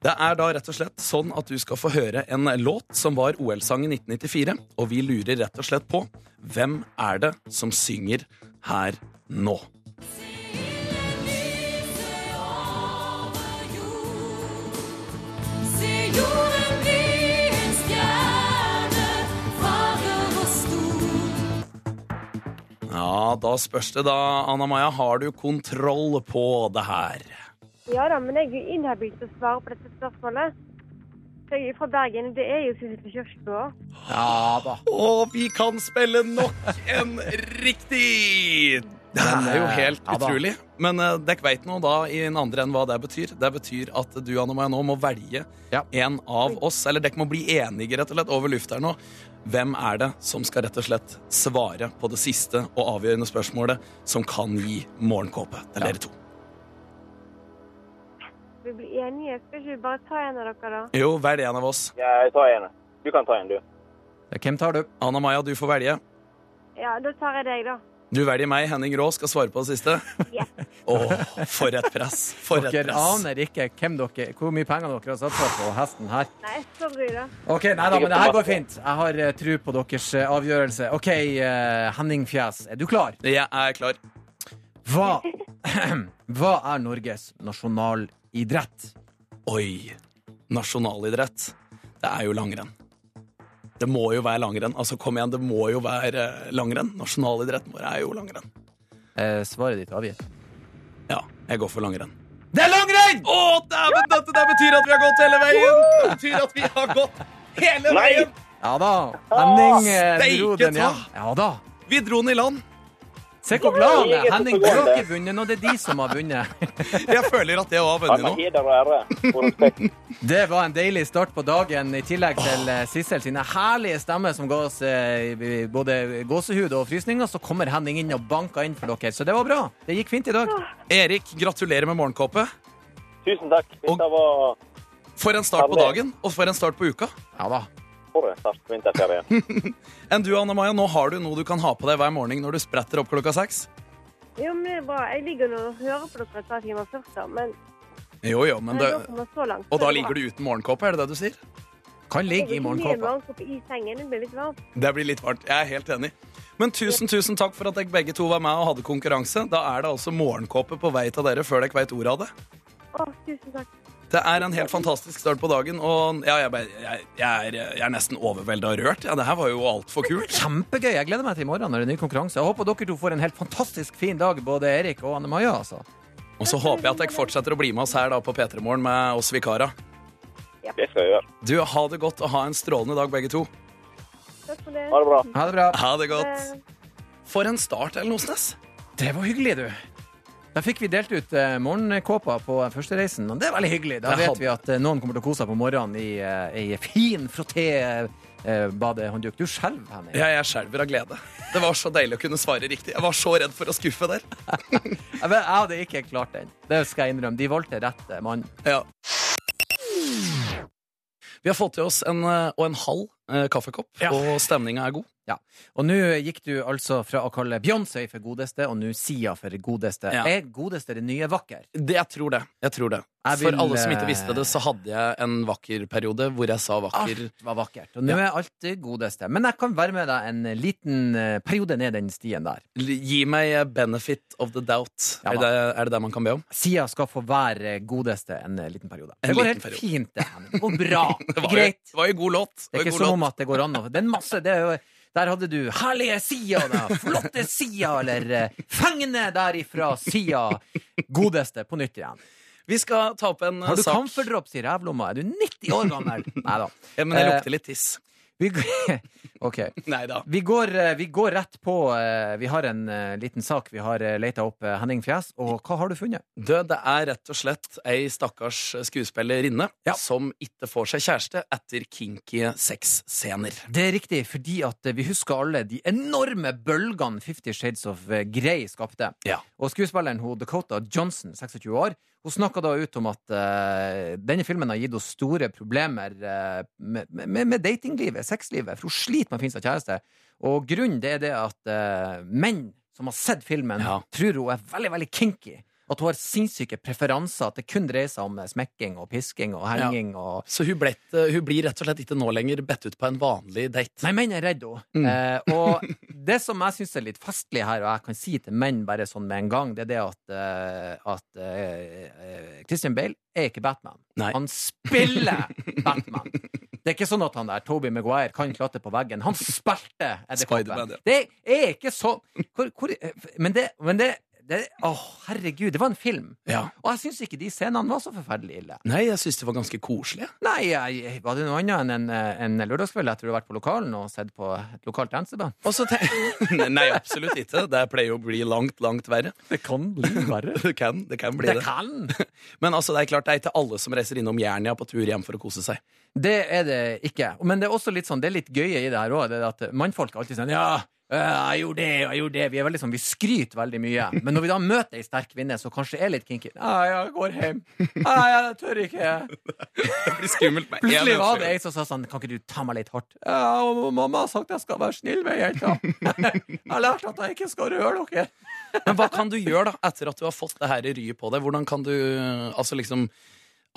Det er da rett og slett sånn at du skal få høre en låt som var OL-sangen 1994, og vi lurer rett og slett på hvem er det som synger her nå? Ja, da spørs det da, Anna Maja, har du kontroll på det her? Ja da, men jeg er jo inhabil til å svare på dette spørsmålet. For jeg er fra Bergen, og det er jo Sissel Kjørsgaard. Ja da. Og vi kan spille nok en riktig! Det er jo helt Eh, Ja da. utrolig. Men uh, dere veit nå da i den andre enn hva det betyr. Det betyr at du Anne Maja, nå må velge Ja. en av oss, eller dere må bli enige rett og slett over luft her nå. Hvem er det som skal rett og slett svare på det siste og avgjørende spørsmålet som kan gi morgenkåpe til dere to? Vi blir enige. Skal ikke vi bare ta en av dere, da? Jo, velg en av oss. Ja, jeg tar en. Du kan ta en, du. Hvem tar du? Anna Maja, du får velge. Ja, da tar jeg deg, da. Du velger meg. Henning Rå skal svare på det siste. Ja. Åh, for et press. For et Dere press. aner ikke hvem dere, hvor mye penger dere har satsa på hesten her. Nei, sorry, da. Ok, nei da, men det her går fint. Jeg har eh, tru på deres eh, avgjørelse. OK, eh, Henning Fjes, er du klar? Jeg er klar. Hva, Hva er Norges nasjonalidrett? Oi. Nasjonalidrett. Det er jo langrenn. Det må jo være langrenn. Altså, kom igjen, det må jo være eh, langrenn. Nasjonalidretten vår er jo langrenn. Eh, svaret ditt avgitt. Ja, jeg går for langrenn. Det er langrenn! Å, dæven døtte! Det betyr at vi har gått hele veien! Det betyr at vi har gått hele Nei! veien! Ja da. Henning eh, Steike dro den, ja. ta! Ja da. Vi dro den i land. Se hvor glad han er. Eget Henning, du program, har det. ikke vunnet nå. Det er de som har vunnet. Jeg føler at det var Han vunnet har nå. heder og ære og respekt. Det var en deilig start på dagen, i tillegg til eh, Sissel sine herlige stemmer som ga oss eh, i- i både gåsehud og frysninger. Så kommer Henning inn og banker inn for dere. Så det var bra. Det gikk fint i dag. Erik, gratulerer med morgenkåpe. Tusen takk. Dette var For en start på dagen, og for en start på uka. Ja da. for en start på vinterferien. Enn du, Anne Maja, nå har du noe du kan ha på deg hver morgen når du spretter opp klokka seks. Jo, men det er bra. Jeg ligger nå og hører på dere et par timer først, da. Men Jo, jo, men når det... dere kommer så langt, Og da ligger du uten morgenkåpe, er det det du sier? Kan ligge i i morgenkåpa. morgenkåpa. I sengen. Det blir litt varmt. Det blir litt varmt. Jeg er helt enig. Men tusen tusen takk for at dere begge to var med og hadde konkurranse. Da er det altså morgenkåpe på vei til dere før dere veit ordet av det. Å, tusen takk. Det er en helt fantastisk start på dagen, og ja, jeg, bare- jeg, jeg, er, jeg er nesten overvelda og rørt. Ja, det her var jo altfor kult. Kjempegøy. Jeg gleder meg til i morgen når det er ny konkurranse. Jeg håper dere to får en helt fantastisk fin dag, både Erik og Anne Maja. Altså. Og så håper jeg at dere fortsetter å bli med oss her da på P3 Morgen med oss vikarer. Det skal jeg gjøre. Du, ha det godt og ha en strålende dag, begge to. Takk for det. Ha det bra. Ha det bra. Ha det godt. Eh, For en start, Ellen Osnes. Det var hyggelig, du. Da fikk vi delt ut eh, morgenkåpa på førstereisen, og det er veldig hyggelig. Da Jeg vet hadde- vi at eh, noen kommer til å kose seg på morgenen i eh, ei fin frotté eh, badehåndduk. Du skjelver, Henning. Ja, jeg skjelver av glede. Det var så deilig å kunne svare riktig. Jeg var så redd for å skuffe der. Jeg, vet- jeg hadde ikke klart den. Det skal jeg innrømme. De valgte rett eh, mann. Ja. Vi har fått til oss en eh, og en halv eh, kaffekopp, og stemninga er god. Og nå gikk du altså fra å kalle Beyoncé for godeste, og nå Sia for godeste. Ja. Er godeste det nye vakker? Det, jeg tror det. Jeg tror det. Jeg vil, For alle som ikke eh, visste det, så hadde jeg en vakker periode hvor jeg sa vakker. Alt var vakkert. Og nå er alt det godeste. Men jeg kan være med deg en liten eh, periode ned den stien der. L- Gi meg eh, benefit of the doubt. Ja, er, det, er det det man kan be om? Sia skal få være eh, godeste en eh, liten periode. En Det liten går helt periode. fint, det. Henning. Det går bra. Det var, Greit. Jo, det var jo god låt. Det var er jo ikke god som låt. om at det går an å Det er en masse det er jo, Der hadde du 'Herlige Sia', da. 'Flotte Sia', eller eh, 'Fengende derifra Sia'. Godeste på nytt igjen. Vi skal ta opp en eh, Har du sak. camferdrops i rævlomma? Er du 90 år gammel? Nei da. Ja, men jeg Eh, lukter litt tiss. Vi, g- ok. Nei da. Vi går, eh, vi går rett på eh, Vi har en eh, liten sak. Vi har leita opp eh, Henning Fjes, og hva har du funnet? Du, det er rett og slett ei stakkars skuespillerinne som ikke får seg kjæreste etter kinky sexscener. Det er riktig, fordi at eh, vi husker alle de enorme bølgene Fifty Shades of eh, Grey skapte. Ja. Og skuespilleren hun, Dakota Johnson, 26 år, hun snakka da ut om at eh, denne filmen har gitt henne store problemer eh, med, med, med datinglivet, sexlivet, for hun sliter med å finne seg kjæreste. Og grunnen det er det at eh, menn som har sett filmen, Ja. tror hun er veldig, veldig kinky. At hun har sinnssyke preferanser, at det kun dreier seg om eh, smekking og pisking og Ja. henging og Så hun, ble, ikke- hun blir rett og slett ikke nå lenger bedt ut på en vanlig date. Nei, menn er redd henne. Mm. Eh, og det som jeg syns er litt festlig her, og jeg kan si til menn bare sånn med en gang, det er det at, eh, at eh, eh, Christian Bale er ikke Batman. Nei. Han spiller Batman. Det er ikke sånn at han der Toby Maguire kan klatre på veggen. Han spilte Spider-Man, ja. edderkoppen. Det er ikke sånn hvor, hvor, eh, Men det, men det, det Å, herregud, det var en film. Ja. Og jeg syns ikke de scenene var så forferdelig ille. Nei, jeg syns det var ganske koselig. Nei, jeg, var det noe annet enn en, eh, en lørdagskveld etter du har vært på lokalen og sett på et lokalt danseband? Og så tenk- Nei, absolutt ikke. Det pleier å bli langt, langt verre. Det kan bli verre. Det kan, det kan bli Det det. kan! Men altså, det er klart det er ikke alle som reiser innom Jernia på tur hjem for å kose seg. Det er det ikke. Men det er også litt sånn, det er litt gøye i det her òg, at mannfolk er alltid sånn Ja, øh, jeg gjorde det, jeg gjorde det. Vi er veldig sånn, vi skryter veldig mye. Men når vi da møter ei sterk kvinne som kanskje er litt kinky Nei, jeg går hjem. Nei, jeg tør ikke. Det blir skummelt med Plutselig var det ei som sa sånn Kan ikke du ta meg litt hardt? Ja, og mamma har sagt jeg skal være snill med jenta. Jeg har lært at jeg ikke skal røre dere. Men hva kan du gjøre da, etter at du har fått det her ryet på deg? Hvordan kan du eh, altså liksom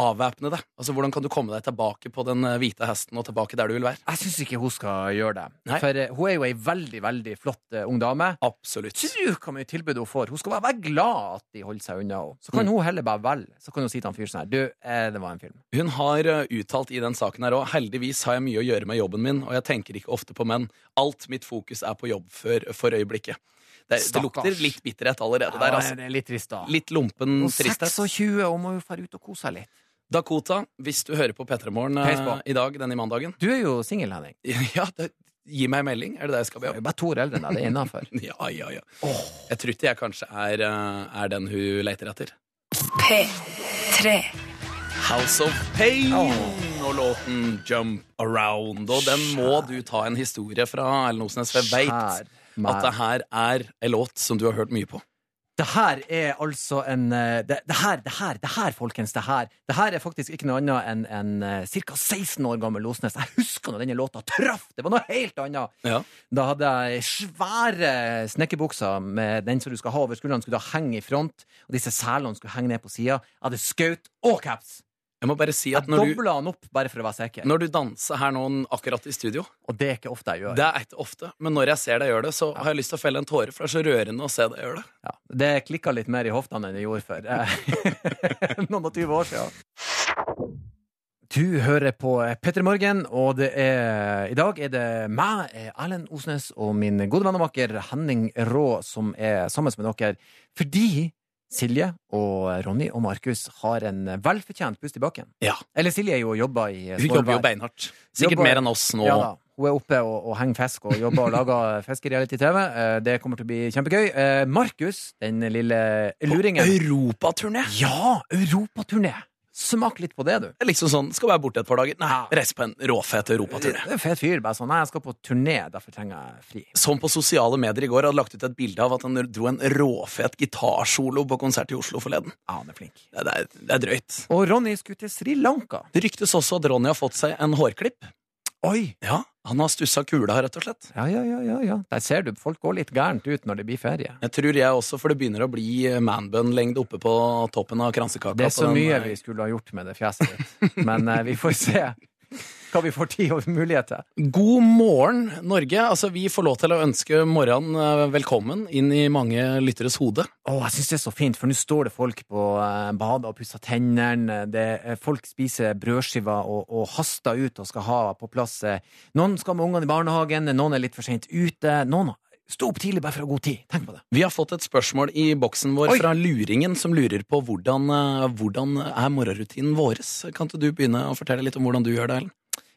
avvæpne deg? Altså, hvordan kan du komme deg tilbake på den eh, hvite hesten og tilbake der du vil være? Jeg syns ikke hun skal gjøre det. Nei. For eh, hun er jo ei veldig veldig flott eh, ung dame. Absolutt. Tro hvor mye tilbud hun får. Hun skal bare være glad at de holder seg unna henne. Så kan hun heller bare velge. Så kan hun si til han fyren sånn her Du, eh, det var en film. Hun har eh, uttalt i den saken her òg heldigvis har jeg mye å gjøre med jobben min, og jeg tenker ikke ofte på menn. Alt mitt fokus er på jobb for, for øyeblikket. Det, det Stakkars. lukter litt bitterhet allerede der, altså. det er litt trist, da. Litt lumpen Hun er tristhet. 26, hun må jo dra ut og kose seg litt. Dakota, hvis du hører på P3 Morgen eh, Peis på. i dag, denne mandagen, Du er jo singel, Henning. ja, da, gi meg en melding. Er det det jeg skal be Du er om? jo bare to år eldre enn deg. Det er innafor. Ja, ja, ja. Jeg tror ikke jeg kanskje er, eh, er den hun leter etter. House of Pain og låten Jump Around. Og den må du ta en historie fra, Erlend Osnes, for jeg veit at det her er en låt som du har hørt mye på. Det her er altså en eh, Det, det her, det her, det her, folkens, det her. Det her er faktisk ikke noe annet enn en ca. 16 år gammel Osnes. Jeg husker når denne låta traff! Det var noe helt annet. Ja. Da hadde jeg svære snekkerbukser med den som du skal ha over skuldrene, skulle da henge i front, og disse selene skulle henge ned på sida. Jeg hadde skaut og caps! Jeg må bare si Jeg at når du, dobla den opp bare for å være sikker. når du danser her nå akkurat i studio Og det er ikke ofte jeg gjør. Det er ikke ofte, men når jeg ser deg gjøre det, så har jeg lyst til å felle en tåre, for det er så rørende å se deg gjøre det. Ja, det klikka litt mer i hoftene enn det gjorde før. Eh, Noen og tyve år siden. Du hører på Petter Morgen, og det er, i dag er det meg, eh, Erlend Osnes, og min gode venn og makker Henning Rå som er sammen med dere. Fordi Silje og Ronny og Markus har en velfortjent pust i bakken. Ja. Eller Silje er jo og jobber i Hun jobber jo Svolvær. beinhardt. Sikkert Jobber- mer enn oss nå. Ja da. Hun er oppe og, og henger fisk og jobber og lager fiskereality-TV. Eh, Det kommer til å bli kjempegøy. Eh, Markus, den lille luringen Europaturné! Ja! Europaturné! Smak litt på det, du. Det er liksom sånn, skal være borte et par dager. Nei, Ja. reis på en råfet Du europatur. er en fet fyr. Bare sånn Nei, jeg skal på turné, derfor trenger jeg fri. Som på sosiale medier i går hadde lagt ut et bilde av at han dro en råfet gitarsolo på konsert i Oslo forleden. Ja, Ah, han er flink. Det det er, det er drøyt. Og Ronny skulle til Sri Lanka. Det ryktes også at Ronny har fått seg en hårklipp. Oi! Ja, Han har stussa kula, rett og slett. Ja, ja, ja, ja, ja. Der ser du, folk går litt gærent ut når det blir ferie. Jeg tror jeg også, for det begynner å bli manbun-lengde oppe på toppen av kransekaka. Det er så på den, mye eh, vi skulle ha gjort med det fjeset ditt. Men eh, vi får se hva vi får tid og mulighet til. God morgen, Norge. Altså, vi får lov til å ønske morgenen eh, velkommen inn i mange lytteres hode. Å, jeg syns det er så fint, for nå står det folk på eh, badet og pusser tennene. Det er- Folk spiser brødskiver og, og haster ut og skal ha på plass eh, Noen skal med ungene i barnehagen, noen er litt for seint ute. Noen sto opp tidlig bare for å ha god tid. Tenk på det. Vi har fått et spørsmål i boksen vår Oi. fra Luringen, som lurer på hvordan, eh, hvordan er morgenrutinen våres. Kan ikke du begynne å fortelle litt om hvordan du gjør det, Ellen?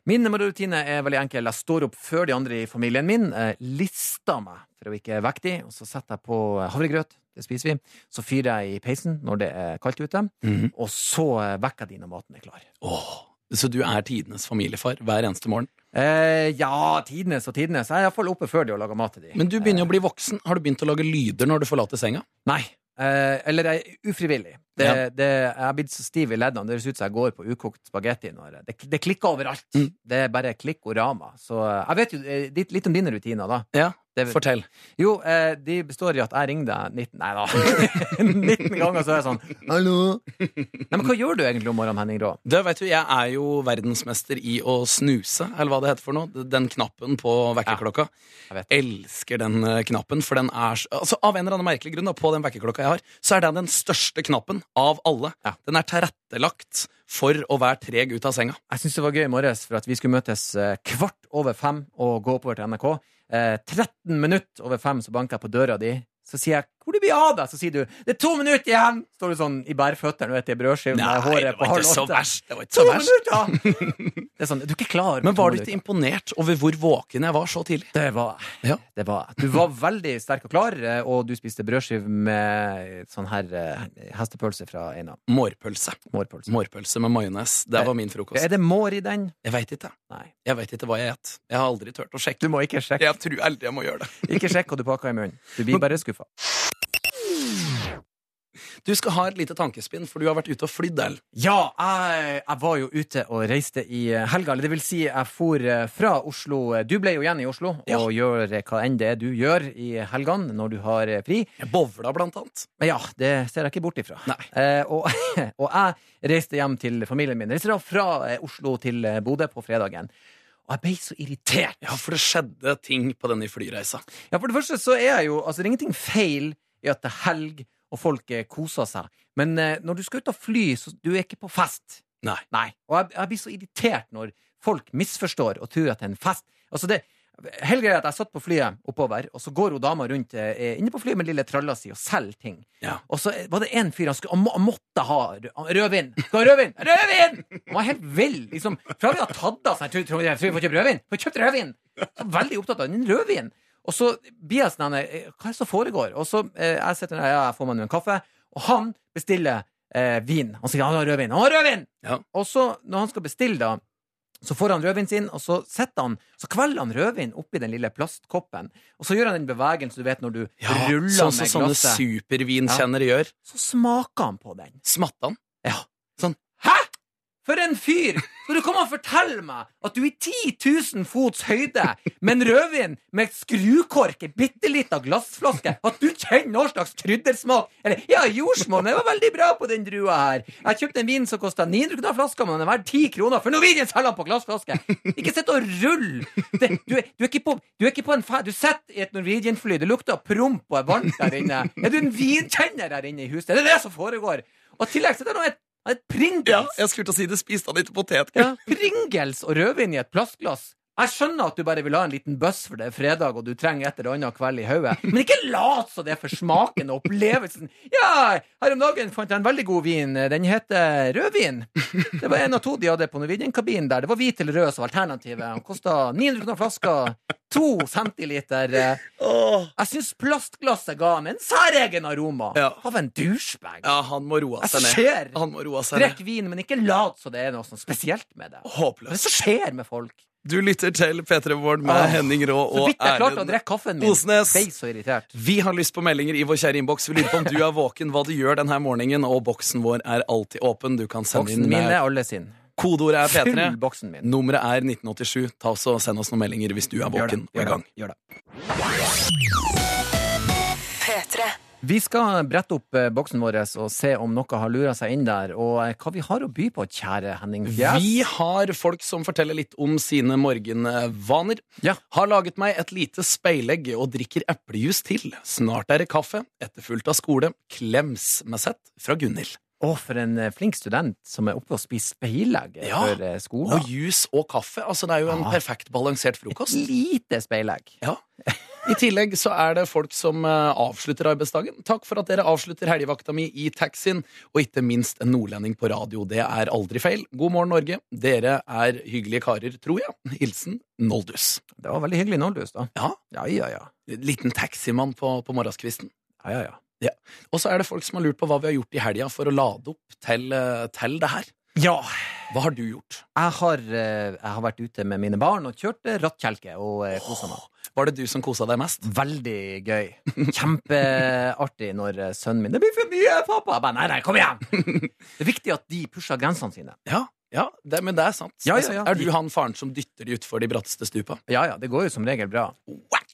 Min morgenrutine er veldig enkel. Jeg står opp før de andre i familien min, eh, lister meg for å ikke vekke de, og så setter jeg på eh, havregrøt. Det spiser vi. Så fyrer jeg i peisen når det er kaldt ute, Mhm. og så eh, vekker jeg de når maten er klar. Åh, så du er tidenes familiefar hver eneste morgen. Eh, ja, tidenes og tidenes. Jeg er iallfall oppe før de og lager mat til de. Men du begynner jo å bli voksen. Har du begynt å lage lyder når du forlater senga? Nei. Eh, eller jeg er ufrivillig. Det, Ja. det, jeg har blitt så stiv i leddene. Det høres ut som jeg går på ukokt spagetti. når- Det, det klikker overalt. Mm. Det er bare klikkorama. Så eh, jeg vet jo eh, litt, litt om dine rutiner, da. Ja, Det, Fortell. Jo, eh, de består i at jeg ringer deg 19 Nei da. 19 ganger, så er jeg sånn Hallo? Nei, men hva gjør du egentlig om morgenen, Henning Rå? Det vet du, Jeg er jo verdensmester i å snuse, eller hva det heter for noe. Den knappen på vekkerklokka. Jeg vet. elsker den eh, knappen, for den er s- altså, Av en eller annen merkelig grunn, da, på den vekkerklokka jeg har, så er den den største knappen av alle. Ja. Den er tilrettelagt for å være treg ut av senga. Jeg syns det var gøy i morges, for at vi skulle møtes eh, kvart over fem og gå oppover til NRK. Eh, 13 minutter over fem så banker jeg på døra di. Så sier jeg 'Hvor det blir av deg?' Så sier du 'Det er to minutter igjen!' Står du sånn i bærføttene og etter brødskive med håret på halv åtte. Det var ikke To så verst. minutter! Det er sånn, du er ikke klar. på Men to var du minutter. ikke imponert over hvor våken jeg var så tidlig? Det var jeg. Ja. Det var jeg. Du var veldig sterk og klar, eh, og du spiste brødskive med sånn her eh, hestepølse fra en av Mårpølse. mårpølse. Mårpølse med majones. Det var min frokost. Er det mår i den? Jeg veit ikke. Nei. Jeg vet ikke hva jeg et. Jeg har aldri turt å sjekke. Du må ikke sjekke. Jeg tror aldri jeg må gjøre det. Ikke sjekk hva du pakker i munnen. Du blir bare skuffa. Du skal ha et lite tankespinn, for du har vært ute og flydd, Erlend. Ja, jeg, jeg var jo ute og reiste i eh, helga. Eller det vil si, jeg for eh, fra Oslo. Du ble jo igjen i Oslo Ja. og gjør eh, hva enn det er du gjør i helgene når du har eh, fri. Jeg bowla, blant annet. Men ja, det ser jeg ikke bort ifra. Nei. Eh, og, og jeg reiste hjem til familien min. Reiste da fra eh, Oslo til eh, Bodø på fredagen. Og jeg ble så irritert. Ja, for det skjedde ting på denne flyreisa. Ja, for det første så er jeg jo Altså, det er ingenting feil i at det er helg, og folk eh, koser seg. Men eh, når du skal ut og fly, så du er ikke på fest. Nei. Nei. Og jeg, jeg blir så irritert når folk misforstår og tror at det er en fest. Altså, det Hele greia er at jeg satt på flyet oppover, og så går hun dama rundt eh, inne på flyet med lille tralla si og selger ting. Ja. Og så var det en fyr han, skulle, han, må, han måtte ha rø- han- rødvin. Skal ha rødvin! Rødvin! Han var helt vill. Liksom, fra vi har tatt av sånn, tror, tror, tror vi får kjøpt rødvin. Får kjøpt rødvin! Så veldig opptatt av den rødvin. Og så blir jeg sånn eh, Hva er det som foregår? Og så eh, jeg sitter der, ja, jeg får meg nå en kaffe, og han bestiller eh, vin. Han sier han har rødvin. Han har rødvin! Ja. Og så, når han skal bestille, da så får han rødvinen sin, og så setter han Så kveller han rødvin oppi den lille plastkoppen. Og så gjør han den bevegelsen du vet når du ruller sånn som med sånne glasset. supervinkjennere gjør. så smaker han på den. Smatta han? Hæ?! For en fyr! Skal du komme og fortelle meg at du i 10 000 fots høyde med en rødvin med et skrukork, ei bitte lita glassflaske, at du kjenner noen slags kryddersmak? Eller ja, jordsmonn, det var veldig bra på den drua her. Jeg kjøpte en vin som kosta 900 kroner flaska, men den er verdt 10 kroner, for Norwegian selger den på glassflaske! Ikke sitt og rull! Det, du, er- du, er ikke på, du er ikke på en fe... Du sitter i et Norwegian-fly, det lukter promp og er varmt der inne. Er du en vinkjenner her inne i huset? Det er det som foregår! Og i tillegg sitter det nå et, et Pringles! jeg skulle til å si det. Spiste han ikke potetgull? Ja, Pringles og rødvin i et plastglass. Jeg skjønner at du bare vil ha en liten buss for det er fredag, og du trenger et eller annet kveld i hodet, men ikke lat som det er for smaken og opplevelsen. Ja, her om dagen fant jeg en veldig god vin. Den heter rødvin. Det var en av to de hadde på Norwegian-kabinen der. Det var hvit eller rød som var alternativet. Den kosta 900 kroner flaska. To centiliter. Jeg syns plastglasset ga han en særegen aroma. Ja. Av en douchebag. Ja, han må roe Hva seg ned. skjer? Han må roe seg Drikk ned. vin, men ikke lat som det er noe sånn spesielt med det. Hva er det Håpløst. som skjer med folk? Du lytter til P3 Morgen med Åh, Henning Rå Så og vidt jeg klarte å Erlend. drikke kaffen min. Osnes. Ble så irritert. Vi har lyst på meldinger i vår kjære innboks. Vi lurer på om du er våken, hva du gjør denne morgenen, og boksen vår er alltid åpen. Du kan sende Boksen inn min med er alle sin. Kodeordet er P3. Fyll boksen min. Nummeret er 1987. Ta oss og Send oss noen meldinger hvis du er våken og i gang. Gjør det. Vi skal brette opp eh, boksen vår og se om noe har lura seg inn der, og eh, hva vi har å by på, kjære Henning. Fjes. Vi har folk som forteller litt om sine morgenvaner. Ja. Har laget meg et lite speilegg og drikker eplejus til. Snart er det kaffe, etterfulgt av skole. Klems med sett fra Gunhild. Å, for en eh, flink student som er oppe og spiser speilegg eh, Ja. før eh, skolen. Og jus og kaffe. Altså, det er jo en Ja. perfekt balansert frokost. Lite speilegg. Ja. I tillegg så er det folk som eh, avslutter arbeidsdagen. Takk for at dere avslutter helgevakta mi i taxien, og ikke minst en nordlending på radio. Det er aldri feil. God morgen, Norge. Dere er hyggelige karer, tror jeg. Hilsen Noldus. Det var veldig hyggelig nåløs, da. Ja. Ja, ja, ja. Liten taximann på, på morgenskvisten. ja, ja, ja. Og så er det folk som har lurt på hva vi har gjort i helga for å lade opp til, eh, til det her. Ja, Hva har du gjort? jeg har, eh, jeg har vært ute med mine barn og kjørt eh, rattkjelke og eh, kosa meg. Var det du som kosa deg mest? Veldig gøy. Kjempeartig når eh, sønnen min 'Det blir for mye, pappa!' Jeg bare 'Nei, nei, kom igjen!' Det er viktig at de pusher grensene sine. Ja, ja det, men det er sant. Ja, Det er ja, ja. sant. Er du han faren som dytter de utfor de bratteste stupa? Ja, ja, det går jo som regel bra.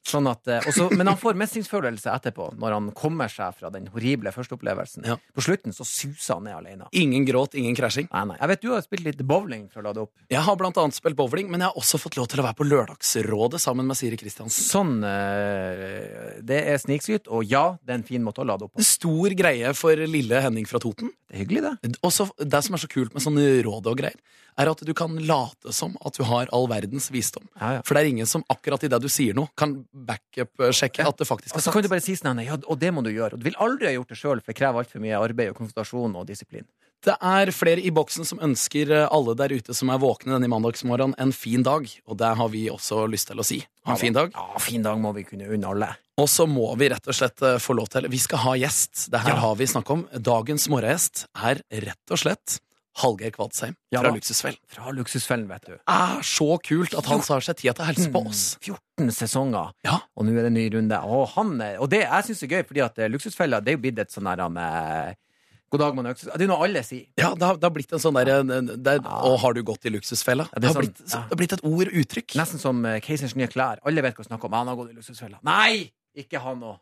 Sånn at, eh, også, men han får mestringsfølelse etterpå, når han kommer seg fra den horrible førsteopplevelsen. Ja. På slutten så suser han ned alene. Ingen gråt, ingen krasjing. Nei, nei. Jeg vet du har spilt litt bowling for å lade opp. Jeg har blant annet spilt bowling, men jeg har også fått lov til å være på Lørdagsrådet sammen med Siri Kristiansen. Sånn eh, Det er snikskryt, og ja, det er en fin måte å lade opp på. En stor greie for lille Henning fra Toten. Det er hyggelig, det. Og så- det som er så kult med sånne råd og greier, er at du kan late som at du har all verdens visdom. Ja, ja. For det er ingen som akkurat i det du sier noe, kan backup-sjekke at det faktisk er Og så kan sant. du bare si sånn nei, ja, og det må du gjøre. Og du vil aldri ha gjort det sjøl, for det krever altfor mye arbeid og konsentrasjon og disiplin. Det er flere i boksen som ønsker eh, alle der ute som er våkne denne mandagsmorgenen, en fin dag. Og det har vi også lyst til å si. Ha en fin dag. Ja, fin dag må vi kunne unne alle. Og så må vi rett og slett eh, få lov til Vi skal ha gjest. Det her har vi snakket om. Dagens morgengjest er rett og slett Hallgeir Kvadsheim Ja fra da. Luksusfell. Fra luksusfellen, vet du. Det er så kult at han tar seg tid til å hilse Mm. på oss. 14 sesonger, Ja. og nå er det en ny runde. Og, han, er- og det jeg syns er gøy, fordi at eh, luksusfella det er jo blitt et sånn der han, eh, God dag, mann. øksus- Det er noe alle sier. Ja, det har, det har blitt en sånn derre det er- Ja. Å, har du gått i luksusfella? Ja, det, det er har sånn, blitt, ja. det har blitt et ord, uttrykk. Nesten som eh, Keiserens nye klær. Alle vet hva han snakker om. Han har gått i luksusfella. Nei! Ikke han òg.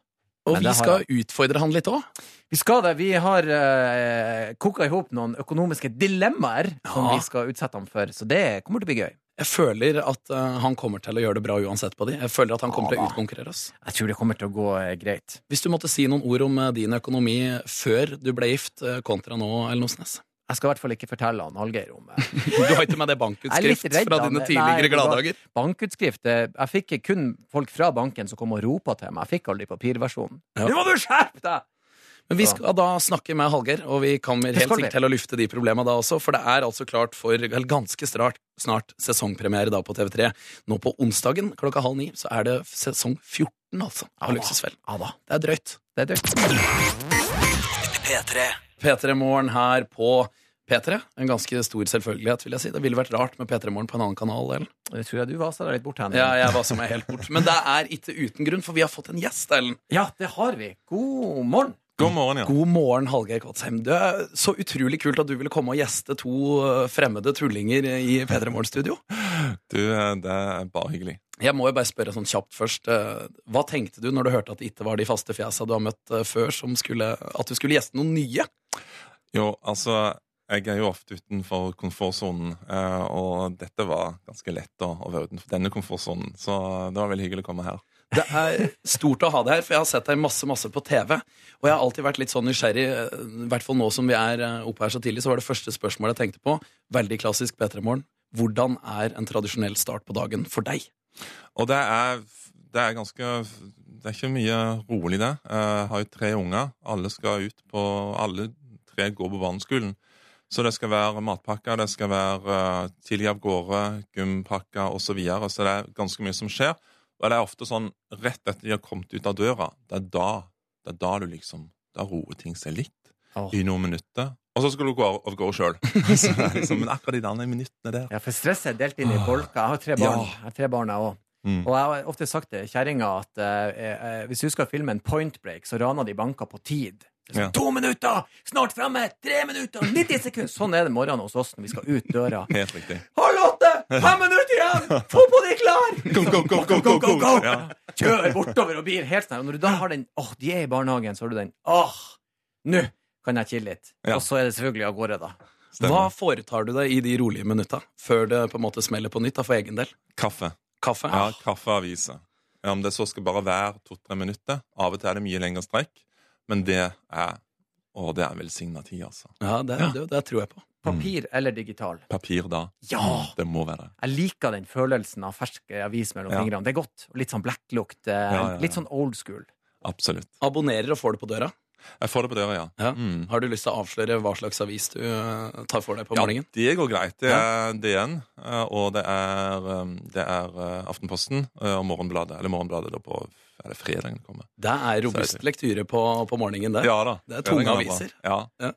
Og men vi det har skal utfordre han litt òg. Vi skal det. Vi har uh, koka i hop noen økonomiske dilemmaer som Ja. vi skal utsette ham for, så det kommer til å bli gøy. Jeg føler at eh, han kommer til å gjøre det bra uansett på de. Jeg føler at han kommer til Ja, å da. utkonkurrere oss. Jeg tror det kommer til å gå eh, greit. Hvis du måtte si noen ord om eh, din økonomi før du ble gift, eh, kontra nå, Ellen Osnes? Jeg skal i hvert fall ikke fortelle han Hallgeir om eh, Du har ikke med deg bankutskrift Jeg er litt redd, fra da, dine men- nei, tidligere det var- gladdager? bankutskrift. Eh, Jeg fikk kun folk fra banken som kom og ropa til meg. Jeg fikk aldri papirversjonen. Ja. Nå må du skjerpe deg! Men vi skal da snakke med Hallgeir, og vi kommer Det helt skal sikkert vi. til å lufte de problemene da også, for det er altså klart for eller ganske snart, snart sesongpremiere da på TV3. Nå på onsdagen klokka halv ni så er det sesong 14, altså, av Luksusfell. Ja da. Det er drøyt. Det er dødt. P3. P3 Morgen her på P3. En ganske stor selvfølgelighet, vil jeg si. Det ville vært rart med P3 Morgen på en annen kanal, Ellen. Det tror jeg du vasa deg litt bort, Henning. Ja, jeg var som jeg helt bort. Men det er ikke uten grunn, for vi har fått en gjest, Ellen. Ja, det har vi. God morgen. God morgen, ja. God morgen, Hallgeir Kvadsheim. Det er så utrolig kult at du ville komme og gjeste to eh, fremmede tullinger i P3 Morgen-studio. Du, eh, det er bare hyggelig. Jeg må jo bare spørre sånn kjapt først. eh, Hva tenkte du når du hørte at det ikke var de faste fjesa du har møtt eh, før, som skulle, at du skulle gjeste noen nye? Jo, altså, jeg er jo ofte utenfor komfortsonen, eh, og dette var ganske lett å, å være utenfor denne komfortsonen, så det var veldig hyggelig å komme her. Det er stort å ha deg her, for jeg har sett deg masse masse på TV. Og jeg har alltid vært litt sånn nysgjerrig, eh, i hvert fall nå som vi er eh, oppe her så tidlig, så var det første spørsmålet jeg tenkte på. Veldig klassisk P3 Morgen. Hvordan er en tradisjonell start på dagen for deg? Og det er, det er ganske Det er ikke mye rolig, det. Jeg har jo tre unger. Alle skal ut på Alle tre går på barneskolen. Så det skal være matpakker, det skal være eh, tidlig av gårde, gympakker osv. Så, videre. så det er ganske mye som skjer. Og det er ofte sånn rett etter de har kommet ut av døra, det er da, det er da du liksom Da roer ting seg litt Åh. i noen minutter. Og så skal du gå av av gårde sjøl. Liksom, men akkurat de der minuttene der Ja, for stresset er delt inn i bolker. Jeg har tre Ja. barn. Jeg har tre barn, jeg òg. Mm. Og jeg har ofte sagt til kjerringa at eh, eh, hvis du husker filmen Point Break, så raner de banker på tid. Det er Ja. sånn, To minutter! Snart framme! Tre minutter! 90 sekunder! Sånn er det morgenen hos oss når vi skal ut døra. Helt riktig. Halv åtte! Fem minutter igjen! Få på de klar! Go, go, go, go, go, go! Ja. Kjører bortover og blir helt sånn. Og når du da har den åh, de er i barnehagen, så har du den åh, nå kan jeg chille litt. Ja. Og så er det selvfølgelig av gårde, da. Stemmer. Hva foretar du deg i de rolige minutta før det på en måte smeller på nytt da, for egen del? Kaffe. Kaffe? Ja, kaffeaviser. Ja, om det så skal bare være to-tre minutter. Av og til er det mye lengre strekk. Men det er Å, det er velsigna tid, altså. Ja, det, det, det tror jeg på. Papir Mm. eller digital. Papir da. Ja! Det må være det. Jeg liker den følelsen av fersk eh, avis mellom Ja. fingrene. Det er godt. og Litt sånn blekklukt. eh, Ja, ja, ja. Litt sånn old school. Absolutt. Abonnerer og får det på døra. Jeg får det på døra, ja. Ja. Mm. Har du lyst til å avsløre hva slags avis du eh, tar for deg på Ja, morgenen? det går greit. Det er DN, eh, og det er, eh, det er eh, Aftenposten eh, og Morgenbladet. Eller Morgenbladet da på Er det fredagen det kommer? Det er robust Seriøst. lektyre på, på morgenen, det. Ja da. Det er tunge Fredagen bra. aviser. Ja.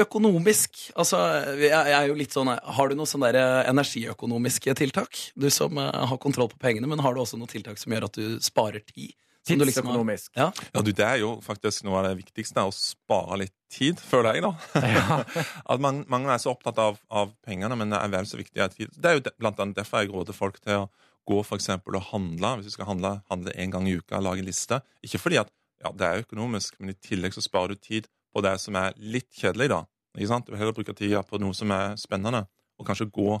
Økonomisk, altså jeg, jeg er jo litt sånn Har du noen sånne der eh, energiøkonomiske tiltak? Du som eh, har kontroll på pengene, men har du også noen tiltak som gjør at du sparer tid? Som du liksom har- Tidsøkonomisk. Ja, ja, du, det er jo faktisk noe av det viktigste, å spare litt tid, føler jeg, da. Ja. At man, mange er så opptatt av, av pengene, men det er vel så viktig at tid. Det er jo de, blant annet derfor jeg råder folk til å gå for eksempel og handle, hvis du skal handle, handle en gang i uka, lage en liste. Ikke fordi at ja, det er økonomisk, men i tillegg så sparer du tid på det som er litt kjedelig, da. Ikke sant? Du vil heller bruke tida på noe som er spennende, og kanskje gå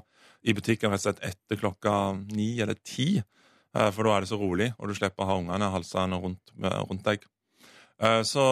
i butikken rett og slett etter klokka ni eller ti, eh, for da er det så rolig, og du slipper å ha ungene halsene rundt, rundt deg. Eh, Så,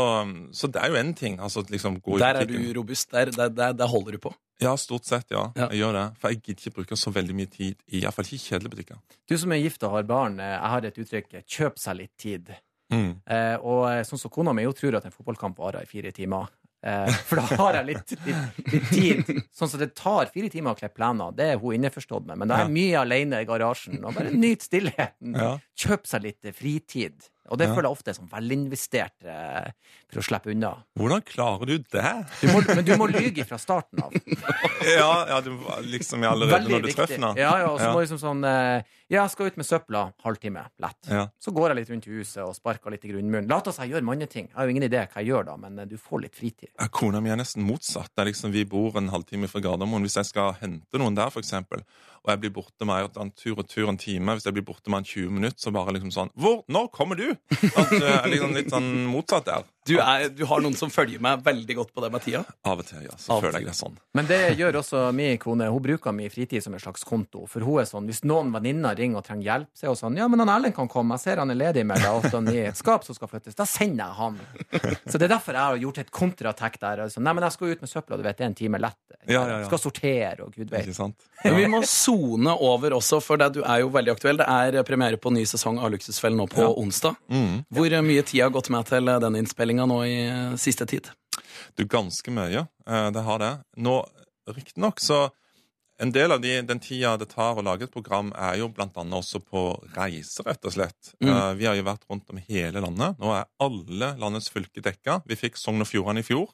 så det er jo én ting. Altså, liksom, gå i Der er du butikken. robust. Der, der, der, der holder du på. Ja, stort sett, ja. Ja. Jeg gjør det. For jeg gidder ikke bruke så veldig mye tid i i hvert fall ikke i kjedelige butikker. Du som er gift og har barn, eh, jeg har et uttrykk 'kjøp seg litt tid'. Mm. Eh, og eh, sånn som kona mi, hun tror at en fotballkamp varer i fire timer. Eh, for da har jeg litt, litt, litt tid. Sånn som det tar fire timer å klippe plener. Det er hun innforstått med. Men da er jeg mye alene i garasjen. Og bare nyt stillheten. Ja. Kjøp seg litt eh, fritid. Og det Ja. føler jeg ofte er sånn velinvestert eh, for å slippe unna. Hvordan klarer du det? Du må, men du må lyge fra starten av. ja, ja, du, liksom jeg allerede Veldig når du viktig. treffer den. Ja, ja, og så Ja. må liksom sånn eh, Ja, jeg skal ut med søpla halvtime. Lett. Ja. Så går jeg litt rundt i huset og sparker litt i grunnmuren. Lat oss jeg gjør manneting. Jeg har jo ingen idé hva jeg gjør da, men eh, du får litt fritid. Ja, Kona mi er nesten motsatt. Det er liksom, vi bor en halvtime fra Gardermoen. Hvis jeg skal hente noen der, for eksempel, og jeg blir borte med en tur og tur en time, hvis jeg blir borte med en 20 minutter, så bare liksom sånn Hvor? Når kommer du? At, eh, liksom, litt sånn motsatt der. Du, er, du har noen som følger meg veldig godt på det med tida. Av og til, ja. Så Av og føler til. jeg det sånn. Men det gjør også min kone. Hun bruker min fritid som en slags konto. For hun er sånn, Hvis noen venninner ringer og trenger hjelp, så er hun sånn Ja, men han Erlend kan komme. Jeg ser han er ledig mellom åtte og ni. Et skap som skal flyttes. Da sender jeg han. Så det er derfor jeg har gjort et kontratekk der. Altså, Nei, men jeg skal ut med søpla, du vet, det er en time lett. Ja, ja, ja. Skal sortere og gud vet. Ikke sant? Men vi må sone over også, for det, du er jo veldig aktuell. Det er premiere på ny sesong av Luksusfellen nå på onsdag. Mm. Hvor mye tid har gått med til eh, den innspillinga nå i eh, siste tid? Du, ganske mye. Eh, Det har det. Nå, riktignok, så en del av de, den tida det tar å lage et program, er jo blant annet også på reise, rett og slett. Mm. Eh, Vi har jo vært rundt om hele landet. Nå er alle landets fylker dekka. Vi fikk Sogn og Fjordane i fjor.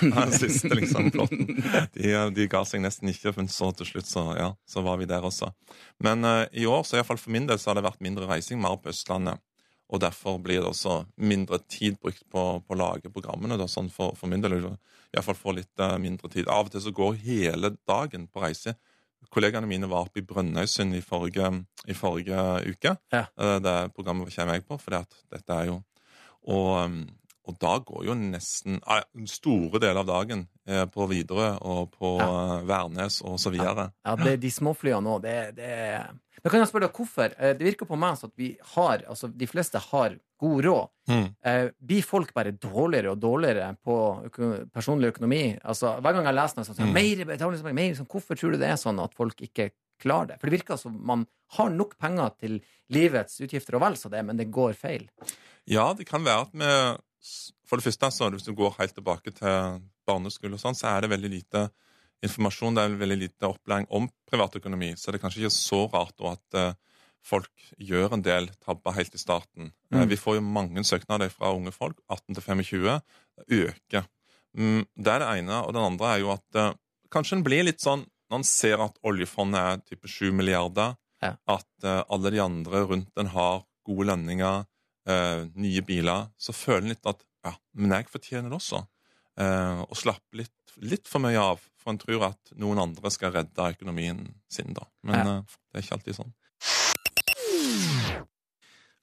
Den siste liksom flåtten. De, de ga seg nesten ikke, men så til slutt så, ja, så var vi der også. Men eh, i år, så i hvert fall for min del, så har det vært mindre reising, mer på Østlandet. Og derfor blir det også mindre tid brukt på, på å lage programmene. Da, sånn for, for min del. Iallfall få litt eh, mindre tid. Av og til så går hele dagen på reise. Kollegaene mine var oppe i Brønnøysund i forrige, i forrige uke. Ja. Eh, Det programmet kommer jeg på, for dette er jo og, um, Og da går jo nesten eh, store deler av dagen eh, på Widerøe og på eh, Værnes og så videre. Ja, det, de småflyene nå, det, det Men kan jeg spørre deg hvorfor? Eh, Det virker på meg som at vi har Altså, de fleste har god råd. Mm. Eh, blir folk bare dårligere og dårligere på øko personlig økonomi? Altså, hver gang jeg leser noe sånt, sånn, Mm. mer betalingspenger, mer sånn, Hvorfor tror du det er sånn at folk ikke klarer det? For det virker som man har nok penger til livets utgifter og vel så det, men det går feil. Ja, det kan være at vi For det første, så hvis du går helt tilbake til barneskole, og sånn, så er det veldig lite informasjon, det er veldig lite opplæring om privatøkonomi. Så det er kanskje ikke så rart da at eh, folk gjør en del tabber helt i starten. Eh, Mm. Vi får jo mange søknader fra unge folk, 18 til 25, øker. Mm, Det er det ene. Og det andre er jo at eh, kanskje en blir litt sånn når en ser at oljefondet er type 7 milliarder, Ja. at eh, alle de andre rundt en har gode lønninger, eh, nye biler, så føler en litt at ja, men jeg fortjener det også. Eh, og slapper litt, litt for mye av, for en tror at noen andre skal redde økonomien sin da. Men Ja. eh, det er ikke alltid sånn.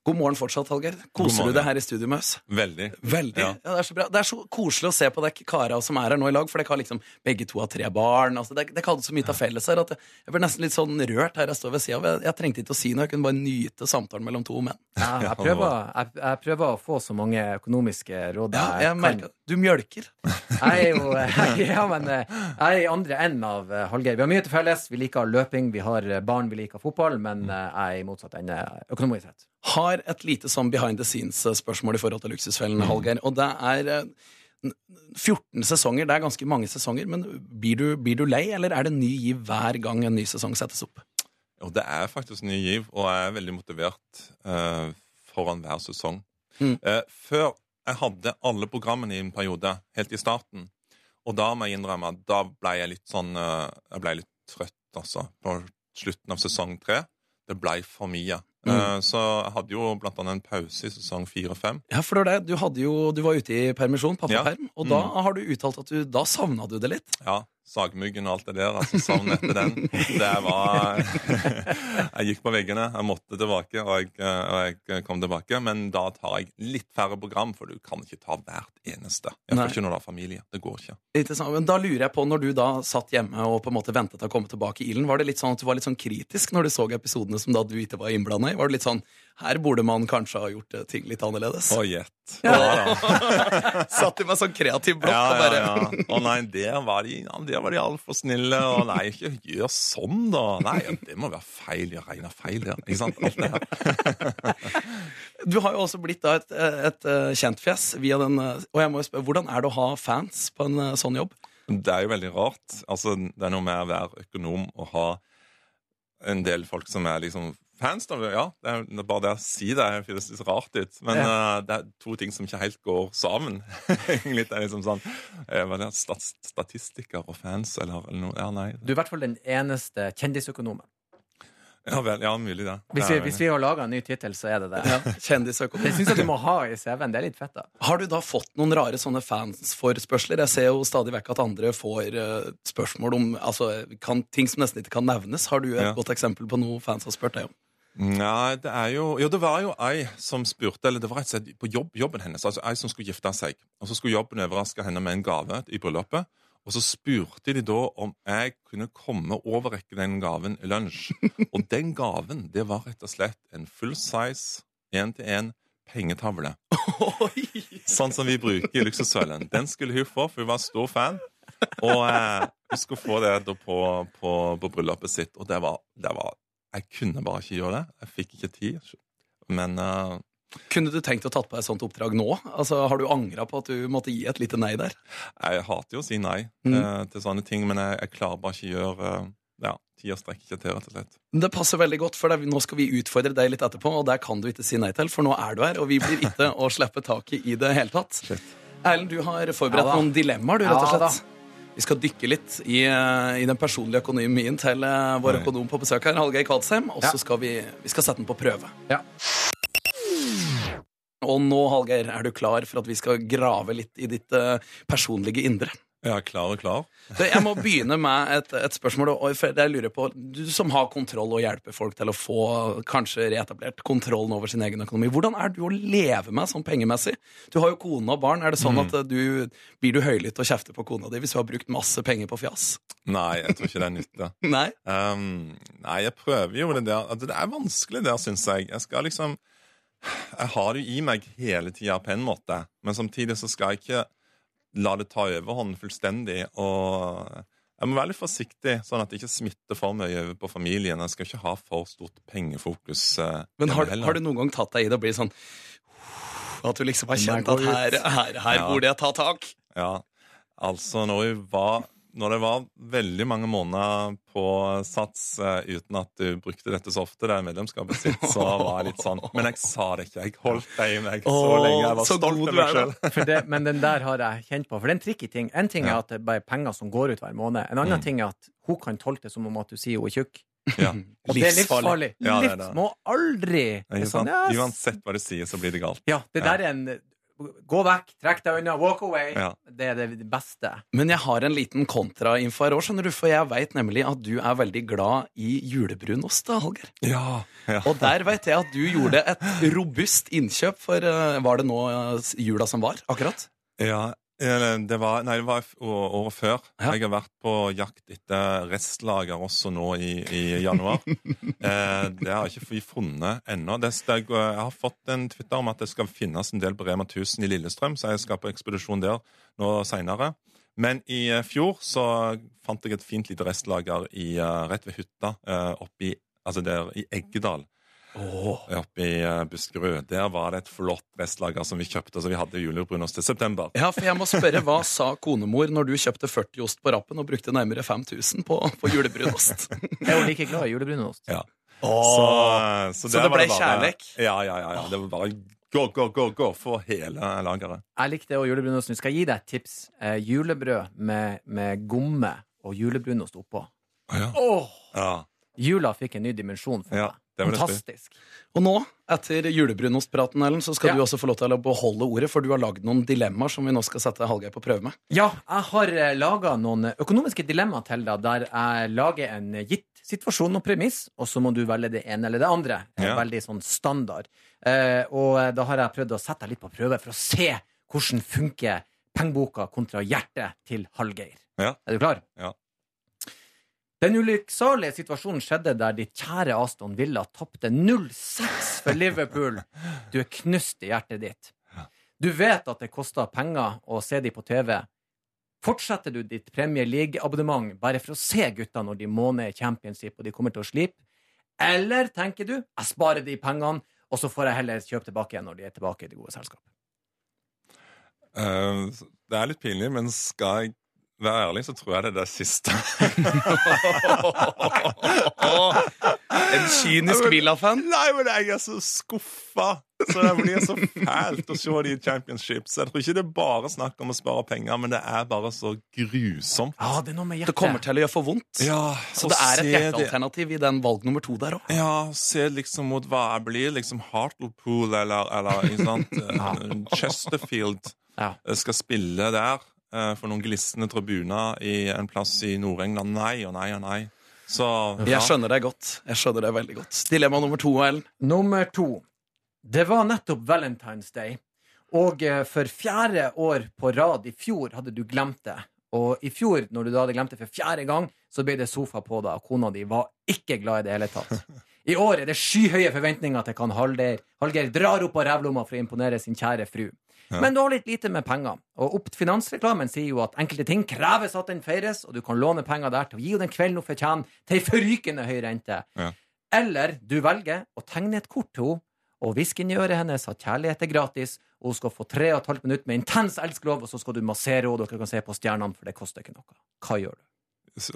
God morgen fortsatt, Hallgeir. God Koser morgen. du deg her i studio med oss? Veldig. Veldig. Ja. Ja. det er så bra. Det er så koselig å se på deg, Kara, som er her nå i lag, for dere har liksom begge to har tre barn. Altså, dere, dere hadde så mye til felles her at jeg, jeg ble nesten litt sånn rørt her jeg står ved sida av. Jeg, jeg trengte ikke å si noe, jeg kunne bare nyte samtalen mellom to menn. Jeg, jeg, prøver, jeg, jeg prøver å få så mange økonomiske råd Ja, jeg, jeg kan. merker Du mjølker. Jeg er jo jeg, ja, men, eh, jeg er i andre enden av eh, Hallgeir. Vi har mye til felles. Vi liker løping, vi har eh, barn, vi liker fotball, men eh, jeg er i motsatt ende økonomisk sett. Har et lite sånn behind the scenes-spørsmål i forhold til Luksusfellen, Hallgeir. Og det er eh, n- 14 sesonger, det er ganske mange sesonger, men blir du, blir du lei, eller er det ny giv hver gang en ny sesong settes opp? Og det er faktisk ny giv, og jeg er veldig motivert eh, foran hver sesong. Mm. Eh, før jeg hadde alle programmene i en periode, helt i starten, og da må jeg innrømme at da ble jeg litt sånn eh, Jeg ble litt trøtt, altså, på slutten av sesong tre. Det ble for mye. Eh, Mm. så jeg hadde jo blant annet en pause i sesong fire og fem. Ja, for det var det. Du, hadde jo, du var ute i permisjon, pappaperm, og da har du uttalt at du da savna du det litt. Ja, sagmuggen og alt det der. Altså savn etter den. Det var Jeg gikk på veggene. Jeg måtte tilbake, og jeg, og jeg kom tilbake. Men da tar jeg litt færre program, for du kan ikke ta hvert eneste. Jeg Nei. får ikke når du har familie. Det går ikke. Ikke sant? Men da lurer jeg på, når du da satt hjemme og på en måte ventet å komme tilbake i ilden, var det litt sånn at du var litt sånn kritisk når du så episodene som da du ikke var innblanda i? Var det litt sånn her burde man kanskje ha gjort eh, ting litt annerledes? Å, gjett. Ja, da. Satt i meg sånn kreativ blokk Ja, ja, og bare ja. Å nei, der var de, ja, der var de altfor snille. Og nei, ikke gjør sånn, da. Nei, ja, det må være feil. Jeg regner feil der. Ikke sant? Alt det her. Du har jo også blitt da et, et eh, kjentfjes via den eh, Og jeg må jo spørre, hvordan er det å ha fans på en eh, sånn jobb? Det er jo veldig rart. Altså, det er noe med å være økonom og ha en del folk som er liksom fans. Da. Ja, det er det er bare det å si det er- det høres rart ut. Men eh, det er to ting som ikke helt går sammen. Egentlig, det er liksom sånn eh, hva er det, stat Statistikker og fans eller, eller noe. Ja, nei. Du er i hvert fall den eneste kjendisøkonomen. Ja, vel, ja mulig det. Det Hvis er vi, veldig- hvis vi har laga en ny tittel, så er det det. Ja, Kjendisøkonomi. Det syns jeg du må ha i CV-en. Det er litt fett, da. Har du da fått noen rare sånne fansforespørsler? Jeg ser jo stadig vekk at andre får eh, spørsmål om altså, kan, ting som nesten ikke kan nevnes. Har du et Ja. godt eksempel på noe fans har spurt deg om? Nei, det er jo Jo, det var jo ei som spurte Eller det var rett og slett på jobb, jobben hennes. Altså ei som skulle gifte seg. Og så skulle jobben overraske henne med en gave i bryllupet. Og så spurte de da om jeg kunne komme og overrekke den gaven i lunsj. Og den gaven, det var rett og slett en full size, én-til-én pengetavle. Sånn som vi bruker i Luksusfellen. Den skulle hun få, for hun var stor fan. Og eh, hun skulle få det da på, på, på bryllupet sitt. Og det var, det var Jeg kunne bare ikke gjøre det. Jeg fikk ikke tid. Men eh, Kunne du tenkt å tatt på deg et sånt oppdrag nå? Altså, har du angra på at du måtte gi et lite nei der? jeg hater jo å si nei eh, til sånne ting. Men jeg, jeg klarer bare ikke å gjøre eh, Ja, tida strekker ikke til, rett og slett. Men Det passer veldig godt, for det, er- nå skal vi utfordre deg litt etterpå, og der kan du ikke si nei til, for nå er du her, og vi blir ikke å slippe taket i det hele tatt. Erlend, du har forberedt Ja da. noen dilemmaer, du, rett og Ja da. slett. Vi skal dykke litt i, eh, i den personlige økonomien til eh, vår Nei. økonom på besøk her, Hallgeir Kvadsheim, og så Ja. skal vi, vi skal sette den på prøve. Ja. Og nå, Hallgeir, er du klar for at vi skal grave litt i ditt eh, personlige indre? Ja, klar og klar. Du, Jeg må begynne med et, et spørsmål. og- og for Jeg lurer på, Du som har kontroll og hjelper folk til å få kanskje reetablert kontrollen over sin egen økonomi, hvordan er du å leve med sånn pengemessig? Du har jo kone og barn. Er det sånn at eh, du, Blir du høylytt og kjefter på kona di hvis du har brukt masse penger på fjas? Nei, jeg tror ikke det er nytte. Nei? Um, nei, jeg prøver jo det der. Altså, Det er vanskelig der, syns jeg. Jeg skal liksom Jeg har det jo i meg hele tida på en måte, men samtidig så skal jeg ikke la det ta overhånd fullstendig. Og jeg må være litt forsiktig, sånn at det ikke smitter for mye over på familien. Jeg skal ikke ha for stort pengefokus. eh, Men har, hjemme heller. har du noen gang tatt deg i det og blitt sånn At du liksom har Den der kjent at går her, her, her Ja. burde jeg ta tak? Ja, altså når jeg var når det var veldig mange måneder på sats eh, uten at du brukte dette så ofte, det medlemskapet sitt, så var jeg litt sånn Men jeg sa det ikke. Jeg holdt det i meg så Åh, lenge. Jeg var så stolt av god du meg er, sjøl. For det, men den der har jeg kjent på. For det er en tricky ting. En ting Ja. er at det bare er penger som går ut hver måned. En annen Mm. ting er at hun kan tolke det som om at du sier hun er tjukk. Ja, Og det er livsfarlig. Ja, det er det. Livs må aldri det er ikke sånn, sant? ja, Uansett hva du sier, så blir det galt. Ja, det Ja. der er en Gå vekk, trekk deg unna, walk away. Ja. Det er det beste. Men jeg har en liten kontrainfo her òg, skjønner du, for jeg veit nemlig at du er veldig glad i julebrunost, da, Hallgeir. Ja, ja. Og der veit jeg at du gjorde et robust innkjøp for eh, Var det nå eh, s- jula som var, akkurat? Ja, eller det var, nei, det var f- å- året før. Ja. Jeg har vært på jakt etter restlager også nå i, i januar. eh, det har ikke vi funnet ennå. Det, skal- jeg har fått en Twitter om at det skal finnes en del på Rema 1000 i Lillestrøm, så jeg skal på ekspedisjon der nå seinere. Men i eh, fjor så fant jeg et fint lite restlager i, eh, rett ved hytta eh, oppe i, altså der, i Eggedal. Oppe i eh, Buskerud. Der var det et flott restlager som vi kjøpte, så vi hadde julebrunost til september. Ja, for jeg må spørre, hva sa konemor når du kjøpte 40 ost på rappen og brukte nærmere 5000 på, på julebrunost? Jeg er jo like glad i julebrunost. Ja. Så- Så der det var ble bare- kjærlek? Ja, ja, ja, ja. Det var bare gå, gå, gå, gå for hele lageret. Jeg likte det, og julebrunost. Nå skal jeg gi deg et tips. Eh, julebrød med, med gomme og julebrunost oppå. Ja. Åh! Ja, Jula fikk en ny dimensjon for ja. meg. Det var det spil. Fantastisk. Og nå, etter julebrunostpraten, Ellen, så skal Ja. du også få lov til å beholde ordet, for du har lagd noen dilemmaer som vi nå skal sette Hallgeir på prøve med. Ja, jeg har laga noen økonomiske dilemmaer til deg, der jeg lager en gitt situasjon og premiss, og så må du velge det ene eller det andre. Ja. Veldig sånn standard. Eh, og da har jeg prøvd å sette deg litt på prøve for å se hvordan funker pengeboka kontra hjertet til Hallgeir. Ja. Er du klar? Ja. Den ulykksalige situasjonen skjedde der ditt kjære Aston Villa tapte 0-6 for Liverpool. Du er knust i hjertet ditt. Du vet at det koster penger å se de på TV. Fortsetter du ditt Premier League-abonnement bare for å se gutta når de måneder i championship og de kommer til å slipe? Eller tenker du jeg sparer de pengene, og så får jeg heller kjøpe tilbake igjen når de er tilbake i det gode selskapet? Eh, så det er litt pinlig, men skal jeg være ærlig, så tror jeg det er det siste. En kynisk Ja, men- Villa-fan. Nei, men jeg er så skuffa! Så det blir så fælt å se de i championships. Jeg tror ikke det er bare snakk om å spare penger, men det er bare så grusomt. Ja, Ah, det er noe med Det kommer til å gjøre for vondt. Så å det er et altså. se det- hjertealternativ i den valg nummer to der òg. Ja, se liksom mot hva jeg blir. Liksom Hartlepool eller, eller ikke sant? eh, Chesterfield Ja. eh, skal spille der eh, for noen glisne tribuner i en plass i Nord-England. Nei og nei og nei. Så ja. Jeg skjønner deg godt. Jeg skjønner deg veldig godt. Dilemma nummer to, Ellen. Nummer to. Det var nettopp Valentine's Day, og eh, for fjerde år på rad i fjor hadde du glemt det. Og i fjor, når du da hadde glemt det for fjerde gang, så ble det sofa på deg, og kona di var ikke glad i det hele tatt. I år er det skyhøye forventninger til kan Hallgeir. Hallgeir drar opp av rævlomma for å imponere sin kjære fru. Men du har litt lite med penger, og opp finansreklamen sier jo at enkelte ting kreves at den feires, og du kan låne penger der til å gi henne den kvelden hun fortjener, til ei forrykende høy rente. Eller du velger å tegne et kort til henne og hviske inn i øret hennes at kjærlighet er gratis, og hun skal få tre og et halvt minutt med intens elskelov, og så skal du massere henne, og dere kan se på stjernene, for det koster ikke noe. Hva gjør du?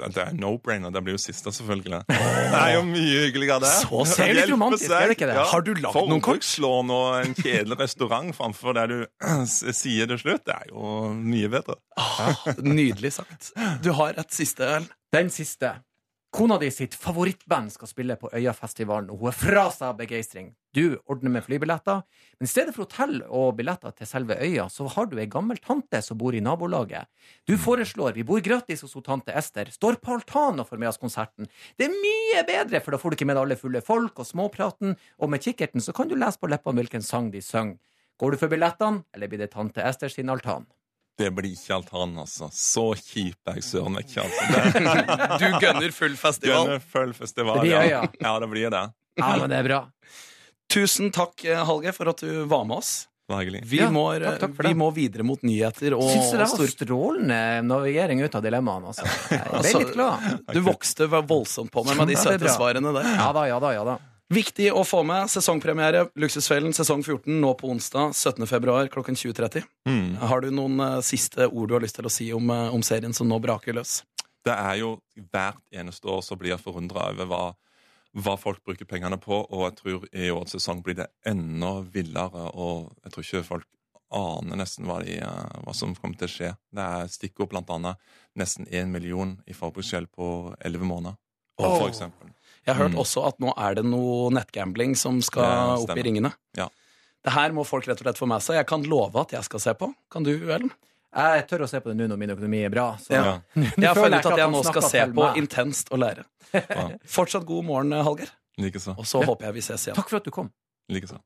eh, Det er no-brainer. Det blir jo siste, selvfølgelig. Det er jo mye hyggeligere, det. Så Det er jo litt Hjelper romantisk, seg. er det ikke det? Ja. Har du lagd noen kort? Forbrukslån og en kjedelig restaurant framfor det du sier til slutt, det er jo mye bedre. Nydelig sagt. Du har et siste, Ellen. Den siste. Kona di sitt favorittband skal spille på Øyafestivalen, og hun er fra seg av begeistring. Du ordner med flybilletter, men i stedet for hotell og billetter til selve øya, så har du ei gammel tante som bor i nabolaget. Du foreslår vi bor gratis hos hun tante Ester, står på altanen og får med oss konserten. Det er mye bedre, for da får du ikke med deg alle fulle folk og småpraten, og med kikkerten så kan du lese på leppene hvilken sang de synger. Går du for billettene, eller blir det tante Ester sin altan? Det blir ikke altan, altså. Så kjip er jeg søren meg ikke. Altså. Du gønner full Det festival. er full festival. Det blir ja. øya. ja, det blir det. Ja, men det er bra. Tusen takk, eh, Hallgeir, for at du var med oss. Virkelig. Vi, Ja, må, eh, takk, takk for vi det. må videre mot nyheter og Syns du det var stor- strålende navigering ut av dilemmaene, altså? Jeg ble Altså, litt glad. Du vokste voldsomt på meg med de Ja, det er søte bra. svarene der. Ja da, ja da, ja da. Viktig å få med sesongpremiere Luksusfellen sesong 14 nå på onsdag 17. februar klokken 20.30. Mm. Har du noen eh, siste ord du har lyst til å si om, eh, om serien som nå braker løs? det er jo hvert eneste år så blir jeg forundra over hva, hva folk bruker pengene på, og jeg tror i årets sesong blir det enda villere, og jeg tror ikke folk aner nesten hva, de, eh, hva som kommer til å skje. Det er stikkord blant annet nesten én million i forbruksgjeld på elleve måneder, Åh. for eksempel. Jeg har hørt Mm. også at nå er det noe nettgambling som skal Ja, stemmer. opp i ringene. Ja. Det her må folk rett og slett få med seg. Jeg kan love at jeg skal se på. Kan du, Ellen? Jeg tør å se på det nå når min økonomi er bra. Så. Ja. Jeg har føler funnet ut jeg at ikke at jeg han nå skal snakker se til på meg. intenst og lære. Ja, Fortsatt god morgen, Hallgeir. Likeså. Og så håper jeg vi ses igjen. Takk for at du kom. Likeså.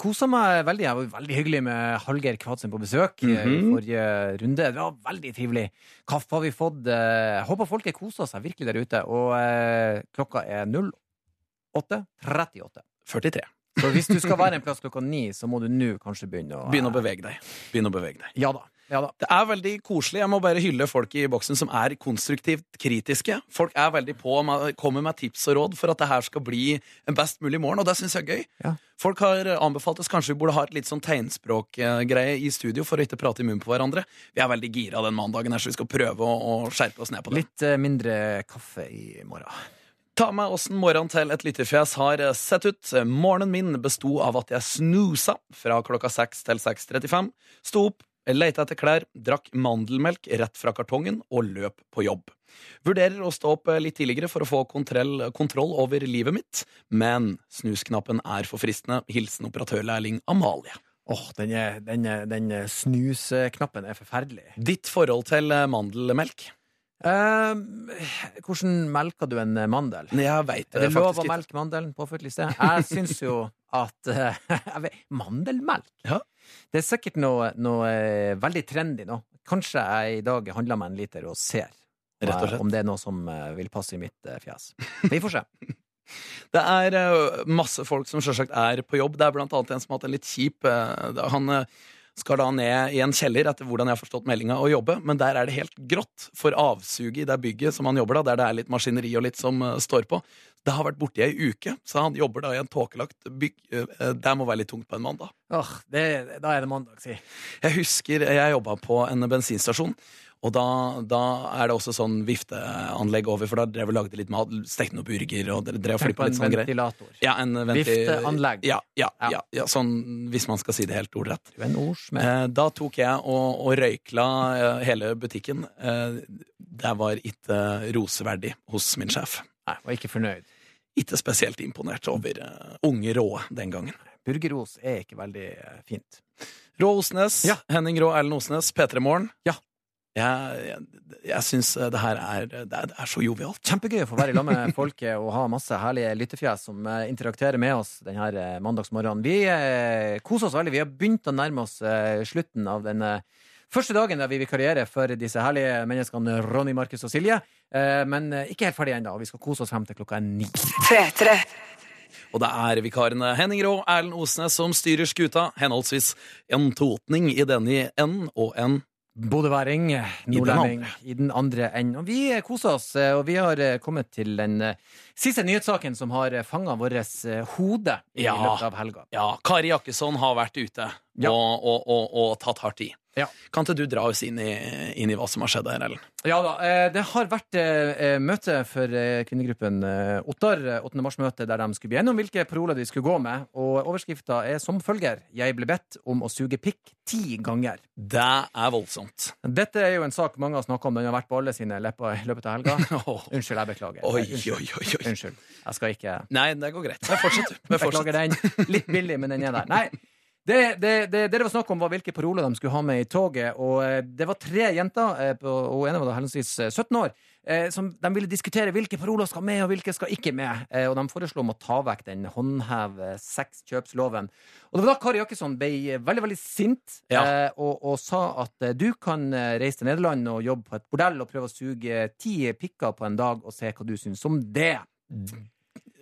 Kosa meg veldig. Jeg var veldig hyggelig med Hallgeir Kvatsen på besøk eh, Mhm. i forrige runde. Det var veldig trivelig. Kaffe har vi fått. eh, Jeg håper folk har kosa seg virkelig der ute. Og eh, klokka er 08.38. 43. Så hvis du skal være en plass klokka ni, så må du nå kanskje begynne å Begynn å bevege deg. Begynn å bevege deg. Ja da. Ja da. Det er veldig koselig. Jeg må bare hylle folk i boksen som er konstruktivt kritiske. Folk er veldig på, ma- kommer med tips og råd for at det her skal bli en best mulig morgen, og det syns jeg er gøy. Ja. Folk har anbefalt oss kanskje vi burde ha et litt sånn tegnspråkgreie i studio for å ikke prate i munnen på hverandre. Vi er veldig gira den mandagen her, så vi skal prøve å, å skjerpe oss ned på det. Litt eh, mindre kaffe i morgen. Ta med åssen morgenen til et lytterfjes har eh, sett ut. Morgenen min besto av at jeg snusa fra klokka 6 til 6.35, sto opp, leita etter klær, drakk mandelmelk rett fra kartongen og løp på jobb. Vurderer å stå opp eh, litt tidligere for å få kontroll, kontroll over livet mitt, men snusknappen er for fristende. Hilsen operatørlærling Amalie. Åh, den, er- den, er- den snusknappen er forferdelig. Ditt forhold til eh, mandelmelk? Ehm, hvordan melker du en mandel? Jeg veit Er det det lov å faktisk ikke. melke mandelen på offentlig sted? Jeg syns jo at eh, jeg vet, Mandelmelk? Ja. Det er sikkert noe, noe eh, veldig trendy nå. Kanskje jeg i dag handler meg en liter og ser om Rett og jeg- slett. om det er noe som eh, vil passe i mitt eh, fjes. Vi får se. Det er eh, masse folk som selvsagt er på jobb. Det er blant annet en som har hatt en litt kjip eh, da- Han eh, skal da ned i en kjeller, etter hvordan jeg har forstått meldinga, og jobbe, men der er det helt grått for avsuget i det bygget som han jobber da, der det er litt maskineri og litt som eh, står på. Det har vært borti ei uke, så han jobber da i en tåkelagt bygg. Eh, Det må være litt tungt på en mandag. Åh, det, da er det mandag, si. Jeg husker eh, jeg jobba på en bensinstasjon. Og da, da er det også sånn vifteanlegg over, for da drev vi og lagde litt mat, stekte noen burger og drev og Tenk flippa på litt en sånn greier. ventilator. Ja, en venti... Vifteanlegg. Ja, ja, Ja. ja, ja, sånn hvis man skal si det helt ordrett. Du er en ordsmed. Eh, da tok jeg og, og røykla eh, hele butikken. Eh, det var ikke roseverdig hos min sjef. Nei, var ikke fornøyd. Ikke spesielt imponert over eh, unge Råe den gangen. Burgeros er ikke veldig eh, fint. Rå Osnes, Ja. Henning Rå, Erlend Osnes, P3 Morgen. Ja. Jeg, jeg, jeg syns det her er, det er, det er så jovialt. Kjempegøy å få være i lag med folket og ha masse herlige lyttefjes som eh, interakterer med oss denne eh, mandagsmorgenen. Vi eh, koser oss veldig. Vi har begynt å nærme oss eh, slutten av den eh, første dagen der vi vikarierer for disse herlige menneskene Ronny, Markus og Silje. Eh, men eh, ikke helt ferdig ennå. Vi skal kose oss frem til klokka er ni. Og det er vikarene Henning Rå, Erlend Osnes som styrer skuta, henholdsvis en totning i denne enden og en Bodøværing, den nordlending, i den andre enden. Og vi eh, koser oss, eh, og vi har eh, kommet til den eh, siste nyhetssaken som har fanga vårt eh, hode i Ja. løpet av helga. Ja, Kari Jakkesson har vært ute Ja. og, og, og, og tatt hardt i. Ja. Kan ikke du dra oss inn i, inn i hva som har skjedd her, Ellen? Ja da. eh, Det har vært eh, eh, møte for eh, kvinnegruppen eh, Ottar. eh, 8. mars-møte der de skulle bli enige om hvilke paroler de skulle gå med. Og overskrifta er som følger Jeg ble bedt om å suge pikk ti ganger. Det er voldsomt. Dette er jo en sak mange har snakka om. Den har vært på alle sine lepper i løpet av helga. Åh. Unnskyld, jeg beklager. Oi, Unnskyld. oi, oi, oi. Unnskyld. Jeg skal ikke Nei, det går greit. Men fortsett, du. Men fortsett. Beklager den. Litt billig, men den er der. Nei. Det det, det, det det var snakk om, var hvilke paroler de skulle ha med i toget. Og eh, det var tre jenter, eh, på- og ene var da heldigvis eh, 17 år, eh, som de ville diskutere hvilke paroler skal med, og hvilke skal ikke med. Eh, Og de foreslo om å ta vekk den håndheve sexkjøpsloven. Og det var da Kari Jakkesson ble eh, veldig, veldig sint, Ja. eh, og, og sa at eh, du kan eh, reise til Nederland og jobbe på et bordell og prøve å suge ti pikker på en dag, og se hva du syns om det.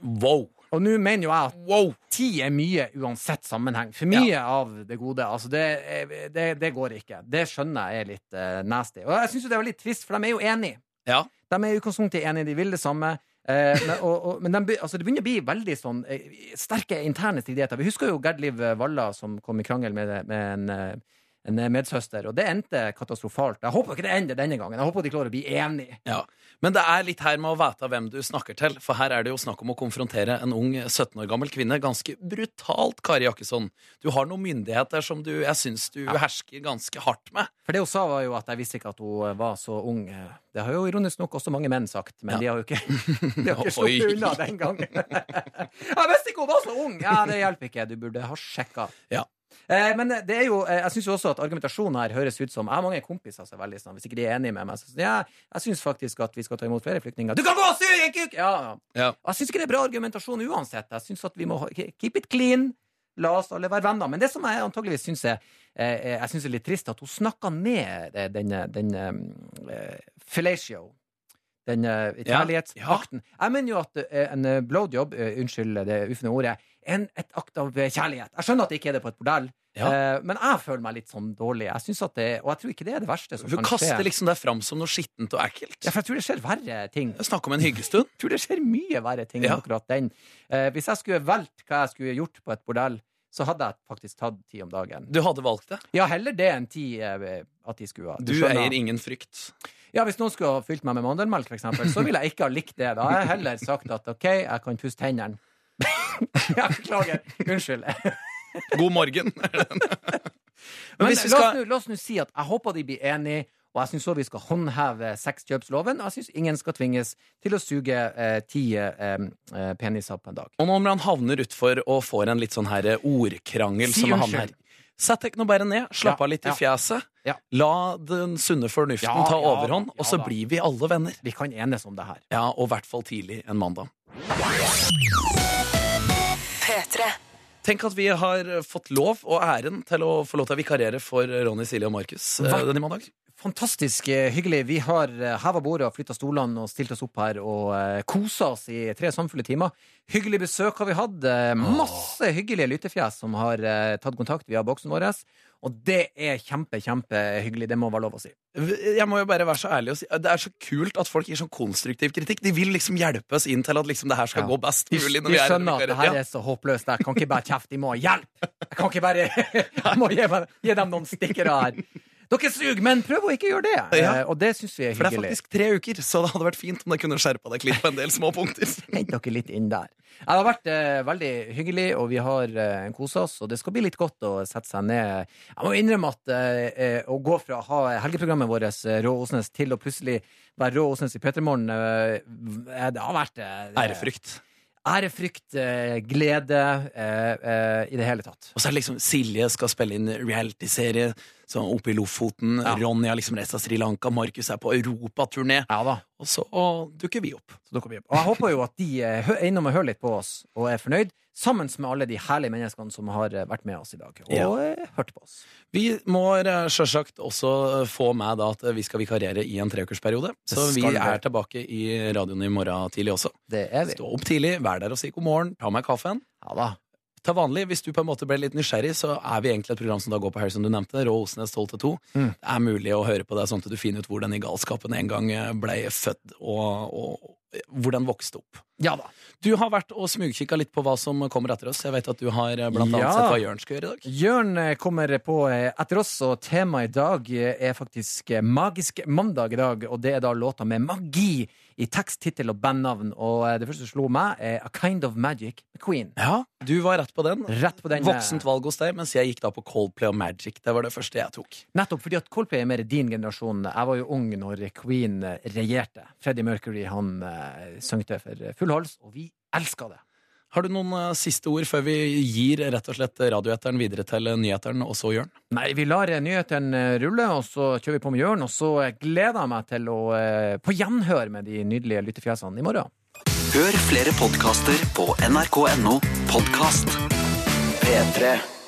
Wow. Og nå mener jo jeg at Wow. Ti er mye uansett sammenheng. For mye av det gode. Altså, det, er- det, det går ikke. Det skjønner jeg er litt eh, nasty. Og jeg syns jo det er veldig trist, for de er jo enige. Ja. De er i utgangspunktet enige, de vil det samme. Eh, men og, og, men de, be- altså, det begynner å bli veldig sånn eh, sterke interne stridigheter. Vi husker jo Gerdliv Valla som kom i krangel med, med en eh, en medsøster, og det endte katastrofalt. Jeg håper ikke det ender denne gangen. Jeg håper de klarer å bli enige. Ja. Men det er litt her med å vite hvem du snakker til, for her er det jo snakk om å konfrontere en ung 17 år gammel kvinne ganske brutalt, Kari Jakkesson. Du har noen myndigheter som du, jeg syns du hersker ganske hardt med. For det hun sa, var jo at jeg visste ikke at hun var så ung. Det har jo ironisk nok også mange menn sagt, men Ja. de har jo ikke, de har ikke Oi. sluppet unna den gangen. jeg visste ikke hun var så ung! Ja, det hjelper ikke. Du burde ha sjekka. Ja. Eh, men det er jo, eh, jeg syns jo også at argumentasjonen her høres ut som Jeg har mange kompiser som er veldig sånn, hvis ikke de er enige med meg, så sier de, ja, jeg syns faktisk at vi skal ta imot flere flyktninger. Du kan gå og sy! ikke- ikke- Ja, ja. Ja. Jeg syns ikke det er bra argumentasjon uansett. Jeg synes at vi må ha- keep it clean. La oss alle være venner. Men det som jeg antageligvis syns er, eh, jeg synes er litt trist, at hun snakka ned eh, denne, denne eh, fellatio. Denne eh, kjærlighetsakten. Jeg mener jo at eh, en eh, blowjob, eh, unnskyld det ufne ordet, er en, et akt av eh, kjærlighet. Jeg skjønner at det ikke er det på et bordell, Ja. eh, men jeg føler meg litt sånn dårlig. Jeg synes at det, Og jeg tror ikke det er det verste som Hun kan skje. kaster liksom deg fram som noe skittent og ekkelt. Ja, for jeg tror det skjer verre ting. Snakk om en hyggestund. Jeg tror det skjer mye verre ting Ja. enn akkurat den. Eh, hvis jeg skulle valgt hva jeg skulle gjort på et bordell, så hadde jeg faktisk tatt ti om dagen. Du hadde valgt det. Ja, heller det enn ti eh, at de skulle ha. Du, skjønner. eier ingen frykt. Ja, Hvis noen skulle ha fylt meg med mandelmelk, for eksempel, så ville jeg ikke ha likt det. Da har jeg heller sagt at OK, jeg kan pusse tennene. ja, beklager. Unnskyld. God morgen. Men hvis vi la oss skal- nå- la oss nå si at jeg håper de blir enige, og jeg syns også vi skal håndheve sexkjøpsloven. Og jeg syns ingen skal tvinges til å suge eh, ti eh, eh, peniser på en dag. Og når han havner utfor og får en litt sånn her ordkrangel Si som er han unnskyld. her Sett deg nå bare ned, slapp Ja, av litt i ja. fjeset. Ja. La den sunne fornuften Ja, ta ja, overhånd, ja og så da. blir vi alle venner. Vi kan enes om det her. Ja, og i hvert fall tidlig en mandag. Tenk at vi har fått lov og æren til å få lov til å vikarere for Ronny, Silje og Markus eh, Hva? denne mandag. Fantastisk eh, hyggelig. Vi har eh, heva bordet og flytta stolene og stilt oss opp her og eh, kosa oss i tre samfulle timer. Hyggelig besøk har vi hatt. eh, Masse hyggelige lyttefjes som har eh, tatt kontakt via boksen vår. Og det er kjempe, kjempehyggelig. Det må være lov å si. Jeg må jo bare være så ærlig og si Det er så kult at folk gir sånn konstruktiv kritikk. De vil liksom hjelpe oss inn til at liksom det her skal Ja. gå best Vi, mulig. når vi er skjønner at det vikarer. her Ja. er så håpløst. Jeg kan ikke bare kjefte. Jeg må ha hjelp! Jeg kan ikke bare Jeg må gi, meg- gi dem noen stikkere her. Dere suger, men prøv å ikke gjøre det. Ja. Eh, Og det syns vi er For det er hyggelig. faktisk tre uker, så det hadde vært fint om det kunne skjerpa deg litt på en del små punkter. Hent dere litt inn der. Ja, Det har vært eh, veldig hyggelig, og vi har eh, kosa oss. Og det skal bli litt godt å sette seg ned. Jeg må innrømme at eh, eh, å gå fra å ha helgeprogrammet vårt eh, Rå Osnes til å plutselig være Rå Osnes i P3 Morgen, eh, v- eh, det har vært eh, Ærefrykt. Ærefrykt, eh, glede, eh, eh, i det hele tatt. Og så er det liksom Silje skal spille inn realityserie sånn oppe i Lofoten. Ja. Ronny har liksom reist til Sri Lanka. Markus er på europaturné. Ja da. Og så og dukker vi opp. Så da kommer vi opp. Og jeg håper jo at de eh, hø- er innom og hører litt på oss og er fornøyd, sammen med alle de herlige menneskene som har eh, vært med oss i dag og Ja. eh, hørt på oss. Vi må eh, sjølsagt også eh, få med da at eh, vi skal vikarere i en treukersperiode. Så vi skal vi er gjøre. tilbake i radioen i morgen tidlig også. Det er vi. Stå opp tidlig, vær der og si god morgen, ta meg kaffen. Ja da. Til vanlig, Hvis du på en måte ble litt nysgjerrig, så er vi egentlig et program som da går på helg, som du nevnte. Rå Osnes 12 til 2. Mm. Det er mulig å høre på det, sånn at du finner ut hvor denne galskapen en gang eh, ble født og, og hvor den vokste opp. Ja da. Du har vært og smugkikka litt på hva som kommer etter oss. Jeg vet at du har eh, blant annet Ja. sett hva Jørn skal gjøre i dag. Jørn eh, kommer på eh, etter oss, og temaet i dag eh, er faktisk eh, Magisk mandag i dag. Og det er da låta med magi i tekst, tittel og bandnavn. Og eh, det første som slo meg, er A Kind of Magic med Queen. Ja, Du var rett på den. Rett på den. eh, Voksent valg hos deg, mens jeg gikk da på Coldplay og Magic. Det var det første jeg tok. Nettopp fordi at Coldplay er mer din generasjon. Jeg var jo ung når Queen eh, regjerte. Freddie Mercury han eh, søngte for eh, full hals, og vi elska det. Har du noen eh, siste ord før vi gir rett og slett radioeteren videre til eh, nyheteren, og så Jørn? Nei, vi lar eh, nyhetene eh, rulle, og så kjører vi på med Jørn. Og så eh, gleder jeg meg til å eh, på gjenhør med de nydelige lyttefjesene i morgen. Hør flere podkaster på nrk.no podkast. P3.